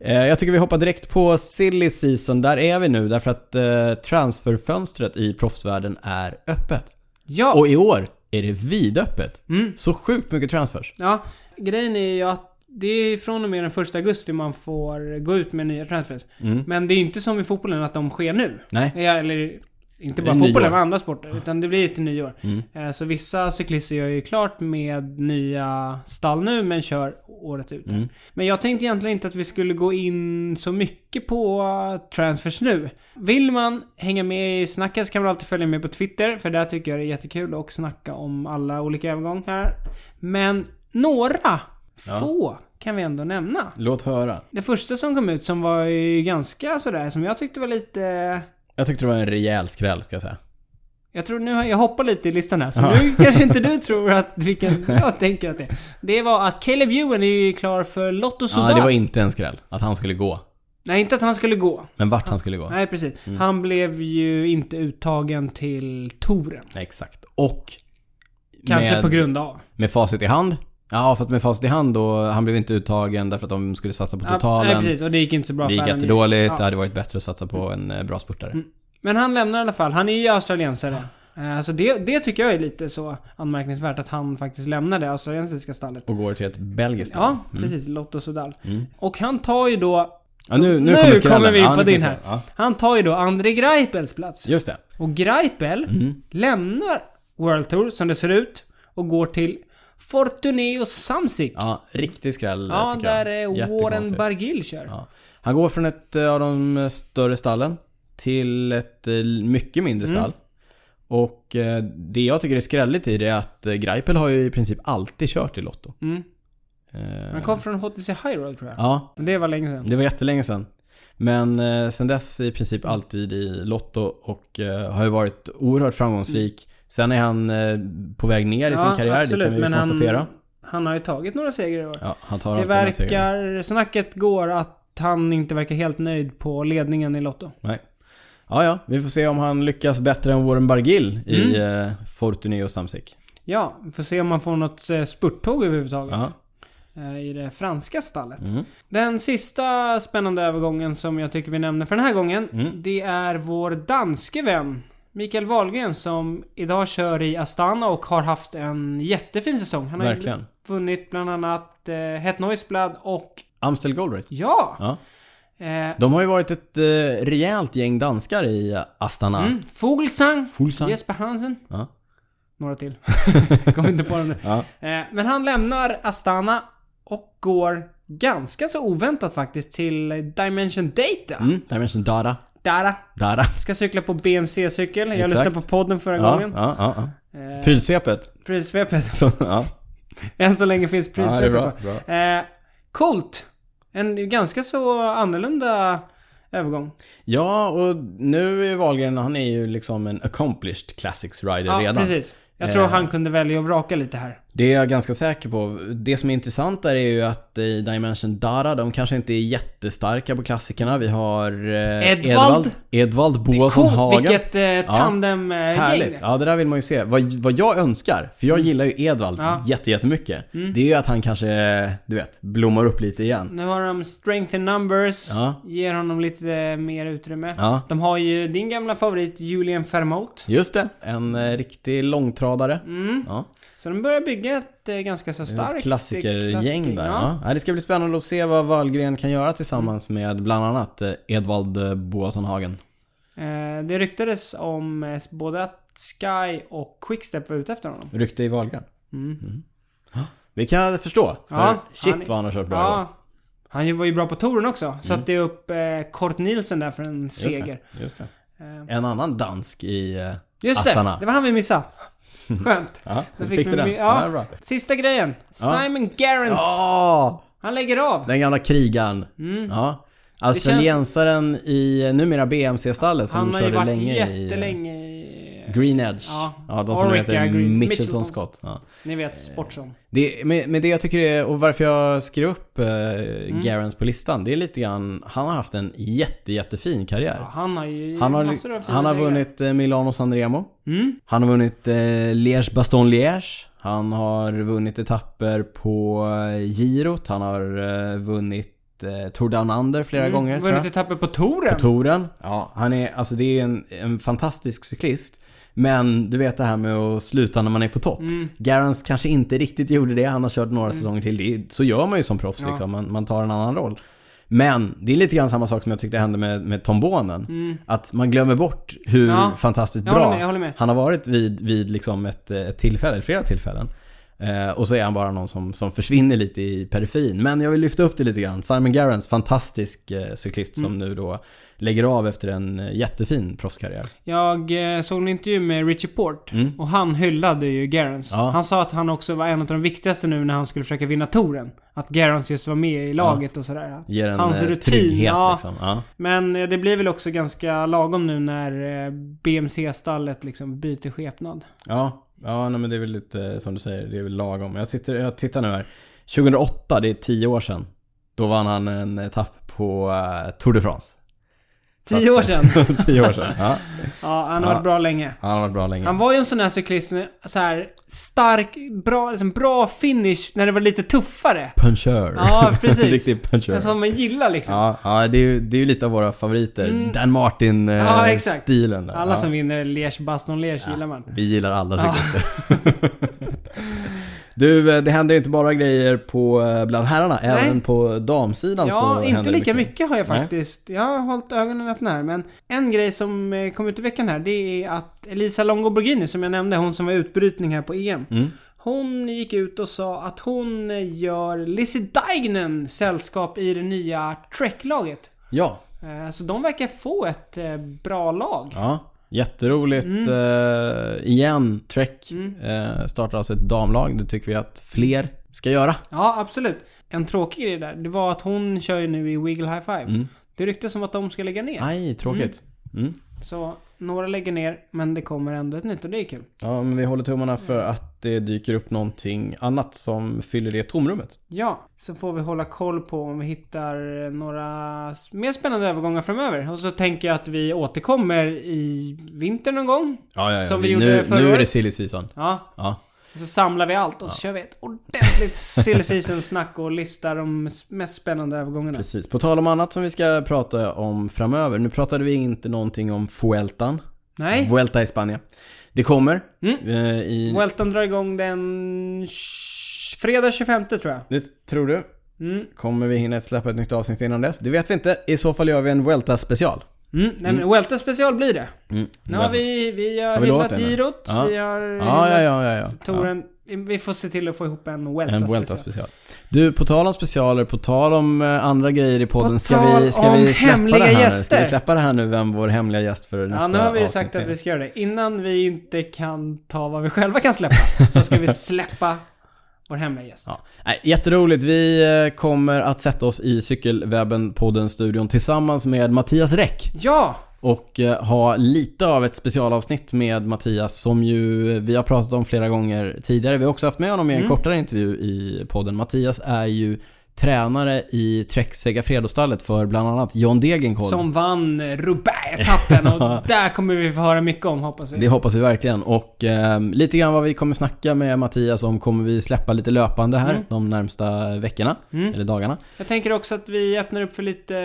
Speaker 2: Eh, Jag tycker vi hoppar direkt på silly season. Där är vi nu därför att eh, transferfönstret i proffsvärlden är öppet.
Speaker 1: Ja, Mm.
Speaker 2: Och i år är det vidöppet. Så sjukt mycket transfers.
Speaker 1: ja, grejen är ju att det är från och med den 1 augusti man får gå ut med nya transfers.
Speaker 2: Mm.
Speaker 1: Men det är inte som i fotbollen att de sker nu.
Speaker 2: Nej.
Speaker 1: Ja, Eller inte bara
Speaker 2: Det är
Speaker 1: fotbollen,
Speaker 2: nyår.
Speaker 1: men andra sporter. Utan det blir till nyår. Eh, Så vissa cyklister gör ju klart med nya stall nu, men kör året ut. Men jag tänkte egentligen inte att vi skulle gå in så mycket på eh, transfers nu. Vill man hänga med i snacket så kan man alltid följa med på Twitter, för där tycker jag det är jättekul att snacka om alla olika övergångar. Men några få kan vi ändå nämna.
Speaker 2: Låt höra.
Speaker 1: Det första som kom ut som var ju ganska sådär, som jag tyckte var lite...
Speaker 2: Jag tyckte det var en rejäl skräll ska jag säga.
Speaker 1: Jag tror nu, har- jag hoppar lite i listan här, så nu kanske inte du tror att vilken jag tänker att det är. Det var att Caleb Ewan är ju klar för Lotto
Speaker 2: Ja,
Speaker 1: Soudal.
Speaker 2: det var inte en skräll. Att han skulle gå.
Speaker 1: Nej, inte att han skulle gå.
Speaker 2: Men vart han skulle gå.
Speaker 1: Nej, precis.
Speaker 2: Mm.
Speaker 1: Han blev ju inte uttagen till touren.
Speaker 2: Exakt. Och...
Speaker 1: Kanske
Speaker 2: med,
Speaker 1: på grund av.
Speaker 2: Med facit i hand. Ja, fast med facit i hand då. Han blev inte uttagen därför att de skulle satsa på
Speaker 1: Ja, Nej,
Speaker 2: totalen.
Speaker 1: precis. Och det gick inte så bra
Speaker 2: det gick
Speaker 1: för honom.
Speaker 2: jättedåligt.
Speaker 1: Ja. Mm.
Speaker 2: Det hade varit bättre att satsa på en eh, bra spurtare.
Speaker 1: Men han lämnar i alla fall. Han är ju australiensare. Eh, Så det, det tycker jag är lite så anmärkningsvärt att han faktiskt lämnar det australiensiska stallet.
Speaker 2: Och går till ett belgiskt
Speaker 1: Ja, precis. Lotto Sudal.
Speaker 2: Mm.
Speaker 1: Och han tar ju då...
Speaker 2: Ja, nu- nu
Speaker 1: nu
Speaker 2: kommer skrällen.
Speaker 1: vi in
Speaker 2: Ja,
Speaker 1: på
Speaker 2: nu
Speaker 1: din
Speaker 2: kommer
Speaker 1: här.
Speaker 2: skrällen.
Speaker 1: Han tar ju då André Greipels plats.
Speaker 2: Just det.
Speaker 1: Och Greipel
Speaker 2: Mm.
Speaker 1: lämnar World Tour, som det ser ut, och går till Fortuneo Samsic. Ja,
Speaker 2: Ja, riktig skräll tycker
Speaker 1: där
Speaker 2: jag.
Speaker 1: eh, Warren
Speaker 2: Jättekonstigt.
Speaker 1: Bargill kör.
Speaker 2: Ja. Han går från ett eh, av de större stallen till ett eh, mycket mindre
Speaker 1: Mm.
Speaker 2: stall. Och eh, det jag tycker är skrälligt i det är att eh, Greipel har ju i princip alltid kört i Lotto.
Speaker 1: Mm. Han kom från HTC High Road tror jag.
Speaker 2: Ja, Mm.
Speaker 1: Det var länge sedan.
Speaker 2: det var jättelänge sedan. Men eh, sen dess i princip alltid i Lotto och eh, har ju varit oerhört framgångsrik. Sen är han eh, på väg ner i sin karriär, det kan vi ju konstatera.
Speaker 1: han, han har ju tagit några segrar i år.
Speaker 2: Ja, han tar
Speaker 1: det
Speaker 2: alltid några segrar.
Speaker 1: verkar... Snacket går att han inte verkar helt nöjd på ledningen i Lotto.
Speaker 2: Nej.
Speaker 1: Mm.
Speaker 2: Ja, ja, vi får se om han lyckas bättre än Warren Bargill i eh, Fortuny och Samsic.
Speaker 1: Ja, får se om man får något eh, spurttåg överhuvudtaget.
Speaker 2: Ja.
Speaker 1: eh, I det franska stallet.
Speaker 2: Mm.
Speaker 1: Den sista spännande övergången som jag tycker vi nämner för den här gången.
Speaker 2: Mm.
Speaker 1: Det är vår danske vän Mikael Wahlgren som idag kör i Astana och har haft en jättefin säsong. Han har ju
Speaker 2: Verkligen.
Speaker 1: vunnit bland annat eh, Het Noisblad och
Speaker 2: Amstel Gold Race.
Speaker 1: ja!
Speaker 2: Ja.
Speaker 1: Eh,
Speaker 2: De har ju varit ett eh, rejält gäng danskar i Astana.
Speaker 1: mm, Fuglsang,
Speaker 2: Fuglsang.
Speaker 1: Jesper Hansen.
Speaker 2: Ja.
Speaker 1: Några till. Kommer inte på dem nu.
Speaker 2: Ja.
Speaker 1: Eh, men han lämnar Astana och går ganska så oväntat faktiskt till Dimension Data.
Speaker 2: Mm, Dimension Dara.
Speaker 1: Där
Speaker 2: Dara.
Speaker 1: Ska cykla på BMC-cykel. Jag
Speaker 2: Exakt.
Speaker 1: lyssnade på podden förra
Speaker 2: Ja,
Speaker 1: gången.
Speaker 2: ja, ja. ja.
Speaker 1: Eh,
Speaker 2: Prylsvepet.
Speaker 1: Prylsvepet.
Speaker 2: Så, ja.
Speaker 1: Än så länge finns
Speaker 2: Ja, det är
Speaker 1: prylsvepet
Speaker 2: bra,
Speaker 1: kvar. eh, Coolt. En ganska så annorlunda övergång.
Speaker 2: ja, och nu är Wahlgren, han är ju liksom en accomplished classics rider
Speaker 1: Ja,
Speaker 2: redan. Eh.
Speaker 1: precis. Jag tror han kunde välja och vraka lite här.
Speaker 2: Det är jag ganska säker på. Det som är intressant där är ju att i Dimension Dara, de kanske inte är jättestarka på klassikerna. Vi har... Eh,
Speaker 1: Edvald.
Speaker 2: Edvald Boasson
Speaker 1: Coolt!
Speaker 2: Hagen.
Speaker 1: Vilket eh, tandemgäng.
Speaker 2: Härligt. Ja, det där vill man ju se. Vad, vad jag önskar, för jag gillar ju Edvald
Speaker 1: Mm. Ja. Mm.
Speaker 2: jätte, jättemycket. Det är ju att han kanske, du vet, blommar upp lite igen.
Speaker 1: nu har de strength in numbers.
Speaker 2: Ja.
Speaker 1: Ger honom lite eh, mer utrymme.
Speaker 2: Ja.
Speaker 1: De har ju din gamla favorit Julian Fermot.
Speaker 2: Just det. En eh, riktig långtradare.
Speaker 1: Mm.
Speaker 2: Ja.
Speaker 1: Så de börjar bygga ett eh, ganska så starkt...
Speaker 2: Ett klassikergäng
Speaker 1: klassiker-
Speaker 2: där. Ja. Ja, det ska bli spännande att se vad Wallgren kan göra tillsammans med bland annat eh, Edvald eh, Boasson Hagen.
Speaker 1: Eh, Det ryktades om eh, både att Sky och Quickstep var ute efter honom.
Speaker 2: Rykte i Wahlgren. Mm. Ja, Det kan jag förstå. För
Speaker 1: Ja,
Speaker 2: shit
Speaker 1: han är-
Speaker 2: vad han har kört bra i år.
Speaker 1: Ja. Han ju- var ju bra på touren också. Satte ju upp eh, Kort Nielsen där för en seger.
Speaker 2: Just det. Just det.
Speaker 1: Eh,
Speaker 2: En annan dansk i eh,
Speaker 1: Just
Speaker 2: Astana.
Speaker 1: det! Det var han vi missade. Skönt.
Speaker 2: Ja,
Speaker 1: Då
Speaker 2: fick du
Speaker 1: vi-
Speaker 2: den?
Speaker 1: Ja.
Speaker 2: Ja, bra.
Speaker 1: Sista grejen. Simon Gerrans.
Speaker 2: Ja!
Speaker 1: Han lägger av.
Speaker 2: Den gamla krigaren.
Speaker 1: Mm.
Speaker 2: Ja. Australiensaren i eh, numera BMC-stallet som
Speaker 1: Han har ju
Speaker 2: körde
Speaker 1: varit
Speaker 2: länge i eh,
Speaker 1: jättelänge i...
Speaker 2: Green Edge.
Speaker 1: Ja.
Speaker 2: Ja, de som
Speaker 1: Orica
Speaker 2: heter
Speaker 1: Green- Mitchelton.
Speaker 2: Mitchelton Scott. Ja.
Speaker 1: Ni vet, Sportson.
Speaker 2: Det, med, med det jag tycker är, och varför jag skrev upp eh,
Speaker 1: Mm.
Speaker 2: Gerrans på listan, det är lite grann, han har haft en jätte, jättefin karriär.
Speaker 1: Ja, han har ju
Speaker 2: Han har,
Speaker 1: massor av fina
Speaker 2: han har
Speaker 1: segrar.
Speaker 2: vunnit eh, Milano Sanremo.
Speaker 1: Mm.
Speaker 2: Han har vunnit eh, Liège Baston Liège. Han har vunnit etapper på eh, Girot. Han har eh, vunnit eh, Tour Down Under flera gånger tror
Speaker 1: Mm. Vunnit
Speaker 2: jag.
Speaker 1: etapper på touren.
Speaker 2: På touren. Ja, han är, alltså det är en, en fantastisk cyklist. Men du vet det här med att sluta när man är på topp. Garans kanske inte riktigt gjorde det. Han har kört några säsonger till. Det, är- så gör man ju som proffs liksom. Man, man tar en annan roll. Men det är lite grann samma sak som jag tyckte hände med, med tombonen. Att man glömmer bort hur
Speaker 1: Ja.
Speaker 2: fantastiskt
Speaker 1: Jag
Speaker 2: bra
Speaker 1: håller med, jag håller med.
Speaker 2: han har varit vid, vid liksom ett, eh, ett tillfälle, flera tillfällen. Eh, och så är han bara någon som, som försvinner lite i periferin. Men jag vill lyfta upp det lite grann. Simon Gerrans, fantastisk eh, cyklist
Speaker 1: Mm.
Speaker 2: som nu då lägger av efter en eh, jättefin proffskarriär.
Speaker 1: Jag eh, såg en intervju med Richie Port och han hyllade ju Gerrans.
Speaker 2: Mm. Ja.
Speaker 1: Han sa att han också var en av de viktigaste nu när han skulle försöka vinna touren. Att Gerrans just var med i laget och sådär.
Speaker 2: Ger en
Speaker 1: Hans
Speaker 2: eh,
Speaker 1: rutin,
Speaker 2: trygghet
Speaker 1: ja.
Speaker 2: liksom. Ja.
Speaker 1: Men eh, det blir väl också ganska lagom nu när eh, BMC-stallet liksom byter skepnad.
Speaker 2: Ja, ja nej, men det är väl lite eh, som du säger, det är väl lagom. Jag, sitter, jag tittar nu här. 2008, det är 10 år sedan. Då vann han en etapp på eh, Tour de France.
Speaker 1: Tio år sedan!
Speaker 2: 10 år sedan. Ja,
Speaker 1: Ja, han har varit bra länge.
Speaker 2: han har varit bra länge.
Speaker 1: Han var ju en sån här cyklist, med så här stark, bra, liksom bra finish när det var lite tuffare.
Speaker 2: Punchör.
Speaker 1: Ja, precis.
Speaker 2: Riktig punchör.
Speaker 1: En som man gillar liksom.
Speaker 2: Ja, ja det, är ju, det är ju lite av våra favoriter. Dan
Speaker 1: Mm. Ja, exakt.
Speaker 2: Martin-stilen där.
Speaker 1: Alla
Speaker 2: ja.
Speaker 1: som vinner Liège, Baston Liège gillar man.
Speaker 2: Vi gillar alla cyklister. du, eh, det händer inte bara grejer på, eh, bland herrarna.
Speaker 1: Nej.
Speaker 2: Även på damsidan så
Speaker 1: Ja, inte
Speaker 2: händer det
Speaker 1: lika mycket. har jag faktiskt. Jag har hållit ögonen öppna här, men en grej som eh, kom ut i veckan här, det är att Elisa Longo Borghini, som jag nämnde, hon som var i utbrytning här på EM.
Speaker 2: Mm.
Speaker 1: Hon gick ut och sa att hon eh, gör Lizzie Deignen sällskap i det nya Trek-laget.
Speaker 2: Ja,
Speaker 1: Eh, Så de verkar få ett eh, bra lag.
Speaker 2: Ja, jätteroligt.
Speaker 1: Mm.
Speaker 2: Eh, igen, Trek eh, startar alltså ett damlag. Det tycker vi att fler ska göra.
Speaker 1: Ja, absolut. En tråkig grej där, det var att hon kör ju nu i Wiggle High Five.
Speaker 2: Mm.
Speaker 1: Det ryktas som att de ska lägga ner.
Speaker 2: Aj, tråkigt. Mm.
Speaker 1: Så några lägger ner, men det kommer ändå ett nytt och det är kul.
Speaker 2: Ja, men vi håller tummarna för att det dyker upp någonting annat som fyller det tomrummet.
Speaker 1: Ja, så får vi hålla koll på om vi hittar några s- mer spännande övergångar framöver. Och så tänker jag att vi återkommer i vinter någon gång.
Speaker 2: Ja,
Speaker 1: Som vi gjorde förra
Speaker 2: Nu är det
Speaker 1: året.
Speaker 2: silly season.
Speaker 1: Ja,
Speaker 2: Ja.
Speaker 1: Så samlar vi allt och så kör vi ett ordentligt silly season-snack och listar de mest spännande övergångarna.
Speaker 2: Precis. På tal om annat som vi ska prata om framöver. Nu pratade vi inte någonting om Fueltan.
Speaker 1: Nej? Mm.
Speaker 2: Vuelta i Spanien. Det kommer. eh, I,
Speaker 1: Welton drar igång den... tj- Fredag 25 tror jag.
Speaker 2: det tror du?
Speaker 1: Mm.
Speaker 2: Kommer vi hinna släppa ett nytt avsnitt innan dess? Det vet vi inte. I så fall gör vi en Vuelta special.
Speaker 1: Mm. Nej men Welton special blir det.
Speaker 2: Mm.
Speaker 1: Nu har vi, vi har,
Speaker 2: Har vi lovat
Speaker 1: hyllat
Speaker 2: det nu?
Speaker 1: girot,
Speaker 2: Ja.
Speaker 1: vi har
Speaker 2: Ja, ja, ja, ja, ja.
Speaker 1: touren. Vi får se till att få ihop en Welta
Speaker 2: En Vuelta
Speaker 1: special.
Speaker 2: special. Du, på tal om specialer, på tal om eh, andra grejer i podden.
Speaker 1: På
Speaker 2: Ska
Speaker 1: tal
Speaker 2: vi, ska
Speaker 1: om
Speaker 2: vi släppa
Speaker 1: hemliga
Speaker 2: det här nu? Ska
Speaker 1: gäster.
Speaker 2: vi släppa det här nu, vem vår hemliga gäst för nästa
Speaker 1: Ja, nu har vi ju
Speaker 2: avsnitt
Speaker 1: sagt att
Speaker 2: är?
Speaker 1: vi ska göra det. Innan vi inte kan ta vad vi själva kan släppa, så ska vi släppa vår hemliga gäst.
Speaker 2: Ja. Nej, jätteroligt. Vi eh, kommer att sätta oss i Cykelwebben-podden-studion tillsammans med Mattias Räck
Speaker 1: Ja!
Speaker 2: och eh, ha lite av ett specialavsnitt med Mattias som ju eh, vi har pratat om flera gånger tidigare. Vi har också haft med honom i en kortare intervju i podden. Mattias är ju tränare i Trek Segafredo-stallet för bland annat John Degenkolb.
Speaker 1: Som vann Roubaix-etappen och där kommer vi få höra mycket om hoppas vi.
Speaker 2: Det hoppas vi verkligen och eh, lite grann vad vi kommer snacka med Mattias om kommer vi släppa lite löpande här de närmsta veckorna, eller dagarna.
Speaker 1: Jag tänker också att vi öppnar upp för lite...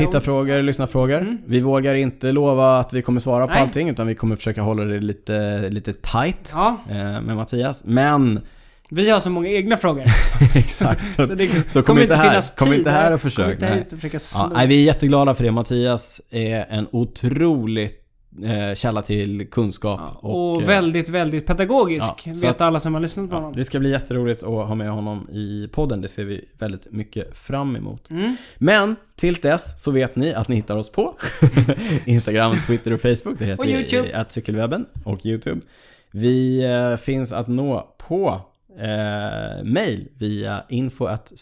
Speaker 1: eh,
Speaker 2: Tittarfrågor, lyssnarfrågor. Vi vågar inte lova att vi kommer svara på
Speaker 1: Mm. Nej.
Speaker 2: allting utan vi kommer försöka hålla det lite, lite tight
Speaker 1: Ja,
Speaker 2: eh, med Mattias. Men
Speaker 1: vi har så många egna frågor.
Speaker 2: exakt, så,
Speaker 1: Så det
Speaker 2: kom inte här. Kom inte här och försök,
Speaker 1: Kom inte här
Speaker 2: nej.
Speaker 1: hit och försöka
Speaker 2: ja,
Speaker 1: slå.
Speaker 2: nej, vi är jätteglada för det. Mattias är en otrolig eh, källa till kunskap.
Speaker 1: och
Speaker 2: eh,
Speaker 1: väldigt, väldigt pedagogisk.
Speaker 2: ja, så
Speaker 1: vet
Speaker 2: att-
Speaker 1: alla som har lyssnat på honom.
Speaker 2: Det ska bli jätteroligt att ha med honom i podden. Det ser vi väldigt mycket fram emot.
Speaker 1: Mm.
Speaker 2: Men tills dess så vet ni att ni hittar oss på Instagram, Twitter och Facebook. Där heter
Speaker 1: Och YouTube.
Speaker 2: vi att cykelwebben och YouTube. Vi eh, finns att nå på eh, mail via info at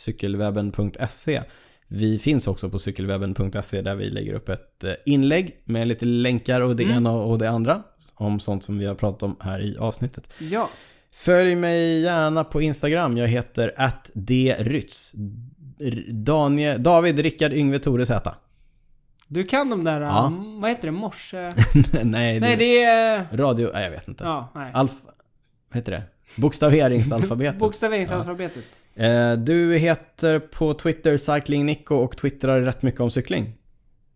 Speaker 2: cykelwebben.se. Vi finns också på cykelwebben.se där vi lägger upp ett eh, inlägg med lite länkar och det
Speaker 1: Mm.
Speaker 2: ena och det andra om sånt som vi har pratat om här i avsnittet.
Speaker 1: Ja.
Speaker 2: Följ mig gärna på Instagram. Jag heter attdrytz. R- Daniel, David Rickard Yngve Tore Z.
Speaker 1: Du kan de där...
Speaker 2: Ja.
Speaker 1: um, Vad heter det? Morse... Nej,
Speaker 2: Nej, det...
Speaker 1: det är...
Speaker 2: Radio... Nej, jag vet inte.
Speaker 1: Ja, nej.
Speaker 2: Alf... Vad heter det? Bokstaveringsalfabetet.
Speaker 1: Bokstaveringsalfabetet.
Speaker 2: eh, du heter på Twitter cyclingnico och twittrar rätt mycket om cykling.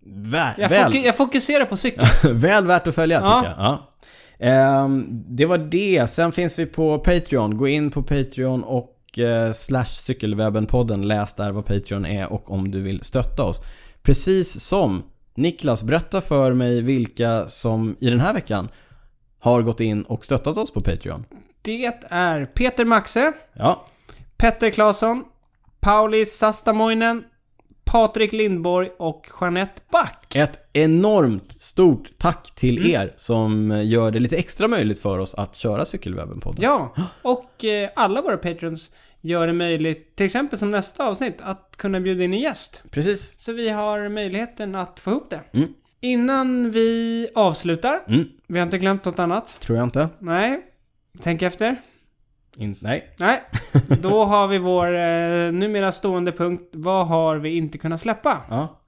Speaker 2: Vä-
Speaker 1: Jag,
Speaker 2: väl,
Speaker 1: foku- jag fokuserar på cykeln.
Speaker 2: väl värt att följa
Speaker 1: Ja.
Speaker 2: tycker jag. Ja. Ehm, det var det. Sen finns vi på Patreon. Gå in på Patreon och eh, slash cykelwebben-podden. Läs där vad Patreon är och om du vill stötta oss. Precis som Niklas, berätta för mig vilka som i den här veckan har gått in och stöttat oss på Patreon.
Speaker 1: Det är Peter Maxe,
Speaker 2: Ja,
Speaker 1: Petter Claesson, Pauli Sastamoinen, Patrik Lindborg och Jeanette Back.
Speaker 2: Ett enormt stort tack till
Speaker 1: Mm.
Speaker 2: er som gör det lite extra möjligt för oss att köra Cykelwebben-podden.
Speaker 1: Ja, och eh, alla våra patrons gör det möjligt, till exempel som nästa avsnitt, att kunna bjuda in en gäst.
Speaker 2: Precis.
Speaker 1: Så vi har möjligheten att få ihop det. Innan vi avslutar,
Speaker 2: Mm.
Speaker 1: vi har inte glömt något annat.
Speaker 2: Tror jag inte.
Speaker 1: Nej, tänk efter.
Speaker 2: In- nej.
Speaker 1: Nej, då har vi vår eh, numera stående punkt. Vad har vi inte kunnat släppa?
Speaker 2: Ja.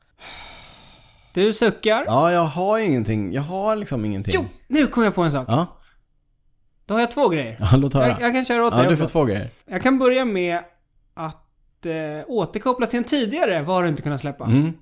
Speaker 1: Du suckar.
Speaker 2: Ja, jag har ingenting. Jag har liksom ingenting.
Speaker 1: Jo, nu kom jag på en sak.
Speaker 2: Ja,
Speaker 1: Då har jag två grejer.
Speaker 2: ja låt höra.
Speaker 1: Jag, jag kan köra åt
Speaker 2: ja,
Speaker 1: dig
Speaker 2: du
Speaker 1: också.
Speaker 2: får två grejer.
Speaker 1: Jag kan börja med att eh, återkoppla till en tidigare Vad har du inte kunnat släppa?
Speaker 2: Mm.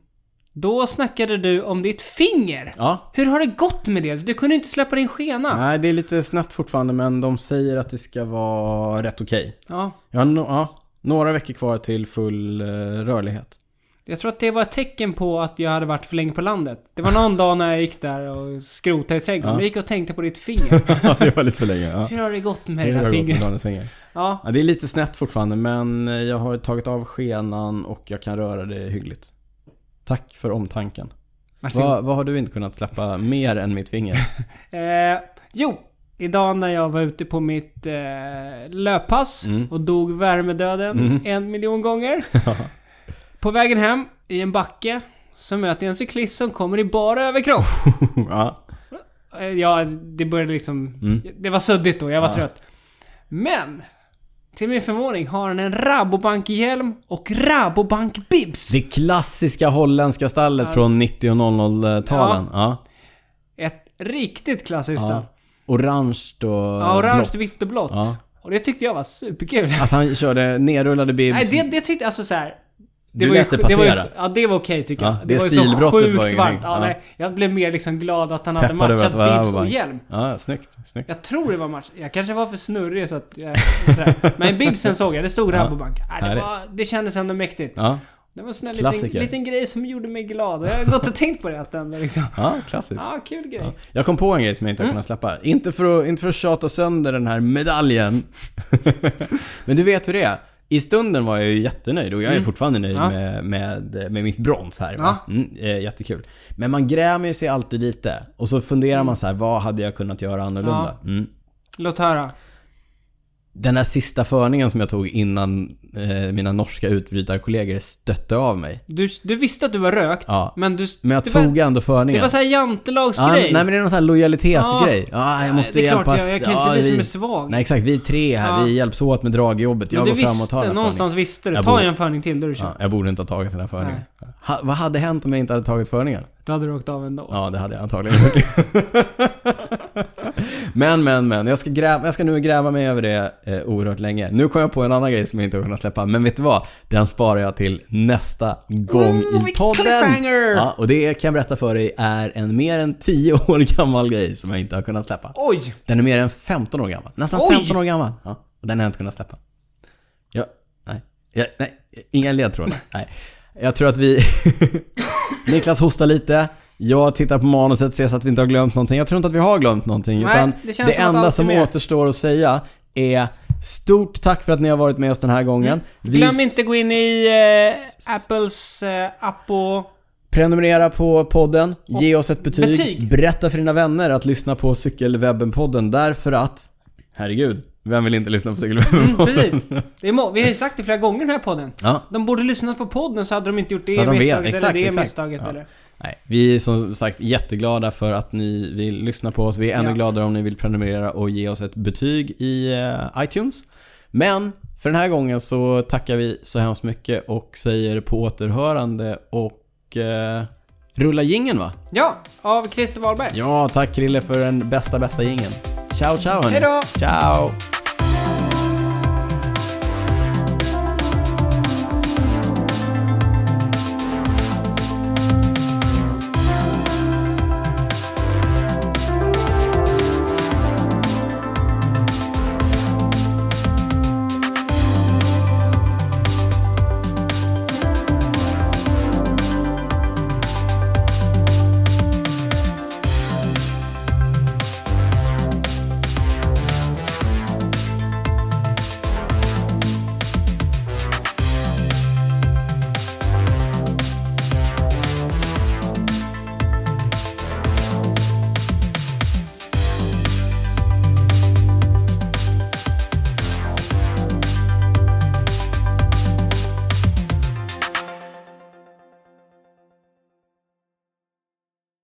Speaker 1: Då snackade du om ditt finger.
Speaker 2: Ja.
Speaker 1: Hur har det gått med det? Du kunde inte släppa din skena.
Speaker 2: Nej, det är lite snett fortfarande men de säger att det ska vara rätt okej.
Speaker 1: Ja,
Speaker 2: Jag har no- ja, några veckor kvar till full eh, rörlighet.
Speaker 1: jag tror att det var ett tecken på att jag hade varit för länge på landet. Det var någon dag när jag gick där och skrotade i trädgården.
Speaker 2: Ja.
Speaker 1: Jag gick och tänkte på ditt finger.
Speaker 2: det var lite för länge. Ja.
Speaker 1: Hur har det gått med
Speaker 2: Hur
Speaker 1: det
Speaker 2: har
Speaker 1: där
Speaker 2: det gått med
Speaker 1: fingret?
Speaker 2: Daniels finger?
Speaker 1: Ja,
Speaker 2: Ja, det är lite snett fortfarande men eh, jag har tagit av skenan och jag kan röra det hyggligt. Tack för omtanken.
Speaker 1: varsågod.
Speaker 2: Vad, vad har du inte kunnat släppa mer än mitt finger?
Speaker 1: Eh, jo, idag när jag var ute på mitt eh, löppass
Speaker 2: Mm.
Speaker 1: och dog värmedöden en miljon gånger. på vägen hem i en backe så möter jag en cyklist som kommer i bara överkropp.
Speaker 2: ja.
Speaker 1: Eh, Ja, det började liksom...
Speaker 2: Mm.
Speaker 1: Det var suddigt då, jag var trött. Men! Till min förvåning har han en Rabobank-hjälm och Rabobank-bibs.
Speaker 2: Det klassiska holländska stallet från 90 och 00-talen. Ja.
Speaker 1: Ett riktigt klassiskt
Speaker 2: Ja.
Speaker 1: namn.
Speaker 2: Orange och
Speaker 1: Ja, orange,
Speaker 2: blått.
Speaker 1: vitt och blått.
Speaker 2: Ja.
Speaker 1: Och det tyckte jag var superkul.
Speaker 2: Att han körde nerrullade bibs.
Speaker 1: Nej, det, det tyckte, alltså så här.
Speaker 2: Du lät det
Speaker 1: det var ju,
Speaker 2: passera.
Speaker 1: Ja, det var okej tycker
Speaker 2: Ja,
Speaker 1: jag.
Speaker 2: det
Speaker 1: Det, var ju så
Speaker 2: stilbrottet
Speaker 1: sjukt
Speaker 2: var ju
Speaker 1: varmt. Ja,
Speaker 2: ingenting. Ja.
Speaker 1: Nej, jag blev mer liksom glad att han hade
Speaker 2: Peppade över
Speaker 1: matchat
Speaker 2: att vara
Speaker 1: bibs och
Speaker 2: Auerbach.
Speaker 1: hjälm.
Speaker 2: Ja, snyggt. Snyggt.
Speaker 1: Jag tror det var match. Jag kanske var för snurrig så att jag, sådär. Men bibsen såg jag, det stod Rabobank. Ja, det,
Speaker 2: Härligt.
Speaker 1: var, det kändes ändå mäktigt.
Speaker 2: Ja,
Speaker 1: Det var en sån här liten,
Speaker 2: Klassiker.
Speaker 1: liten grej som gjorde mig glad. Och jag har gått och tänkt på det att den var liksom...
Speaker 2: ja klassiskt.
Speaker 1: Ja, kul grej.
Speaker 2: Ja. Jag kom på en grej som jag inte har
Speaker 1: Mm.
Speaker 2: kunnat släppa. Inte för, att, inte för att tjata sönder den här medaljen. Men du vet hur det är. I stunden var jag ju jättenöjd och jag är fortfarande nöjd
Speaker 1: Mm. Ja.
Speaker 2: med, med, med mitt brons här. va? Mm, eh, jättekul. Men man grämer ju sig alltid lite och så funderar
Speaker 1: Mm.
Speaker 2: man så här, vad hade jag kunnat göra annorlunda? Mm.
Speaker 1: Låt höra.
Speaker 2: Den här sista förningen som jag tog innan eh, mina norska utbrytarkollegor stötte av mig.
Speaker 1: Du, du visste att du var rökt,
Speaker 2: Ja.
Speaker 1: men du...
Speaker 2: Men jag
Speaker 1: det
Speaker 2: tog
Speaker 1: var,
Speaker 2: ändå
Speaker 1: Det
Speaker 2: förningen.
Speaker 1: var såhär
Speaker 2: Ja,
Speaker 1: jantelagsgrej.
Speaker 2: nej men det är någon sån här lojalitetsgrej. Ja, jag måste
Speaker 1: det är klart,
Speaker 2: hjälpa...
Speaker 1: jag- jag kan inte
Speaker 2: ja,
Speaker 1: bli som
Speaker 2: vi-
Speaker 1: är svag.
Speaker 2: Nej exakt, vi är tre här. Vi hjälps åt med dragjobbet.
Speaker 1: Men
Speaker 2: Jag
Speaker 1: du
Speaker 2: går fram och
Speaker 1: visste,
Speaker 2: tar den här förningen.
Speaker 1: någonstans visste du.
Speaker 2: Jag
Speaker 1: Ta
Speaker 2: borde-
Speaker 1: en förning till, då är du kör.
Speaker 2: Ja, jag borde inte ha tagit den här förningen. Ha, vad hade hänt om jag inte hade tagit förningen?
Speaker 1: Då hade du åkt av ändå.
Speaker 2: Ja, det hade jag antagligen gjort. men, men, men. Jag ska, gräva, jag ska nu gräva mig över det eh, oerhört länge. Nu kom jag på en annan grej som jag inte har kunnat släppa. Men vet du vad? Den sparar jag till nästa gång
Speaker 1: Ooh,
Speaker 2: i
Speaker 1: vilken
Speaker 2: podden.
Speaker 1: cliffhanger!
Speaker 2: Ja, och det kan jag berätta för dig är en mer än 10 år gammal grej som jag inte har kunnat släppa.
Speaker 1: Oj!
Speaker 2: Den är mer än 15 år gammal. Nästan
Speaker 1: Oj!
Speaker 2: 15 år gammal. Ja, och den har jag inte kunnat släppa. Ja, nej. Ja, nej. Inga ledtrådar. nej. Jag tror att vi... Niklas hostar lite. Jag tittar på manuset ser så att vi inte har glömt någonting. Jag tror inte att vi har glömt någonting.
Speaker 1: Nej,
Speaker 2: utan
Speaker 1: det
Speaker 2: det,
Speaker 1: känns som att
Speaker 2: enda
Speaker 1: allt är
Speaker 2: som
Speaker 1: med.
Speaker 2: återstår att säga är stort tack för att ni har varit med oss den här gången. Vi
Speaker 1: Mm. Glöm inte gå in i eh, Apples eh, app och...
Speaker 2: Prenumerera på podden, ge oss ett betyg,
Speaker 1: betyg.
Speaker 2: berätta för dina vänner att lyssna på Cykelwebben-podden därför att... Herregud, vem vill inte lyssna på Cykelwebben-podden?
Speaker 1: Mm, Precis. Det är må- vi har ju sagt det flera gånger i den här podden.
Speaker 2: Ja.
Speaker 1: De borde lyssnat på podden så hade de inte gjort det
Speaker 2: Så hade de vet.
Speaker 1: misstaget eller
Speaker 2: Exakt,
Speaker 1: det
Speaker 2: exakt.
Speaker 1: misstaget
Speaker 2: Ja.
Speaker 1: eller...
Speaker 2: Nej, vi är som sagt jätteglada för att ni vill lyssna på oss. Vi är ännu
Speaker 1: Ja.
Speaker 2: gladare om ni vill prenumerera och ge oss ett betyg i eh, iTunes. Men för den här gången så tackar vi så hemskt mycket och säger på återhörande och eh, rulla gingen va?
Speaker 1: Ja, av Christer Wahlberg.
Speaker 2: Ja, tack Krille för den bästa, bästa gingen. Ciao, ciao hörni.
Speaker 1: Hejdå!
Speaker 2: Ciao!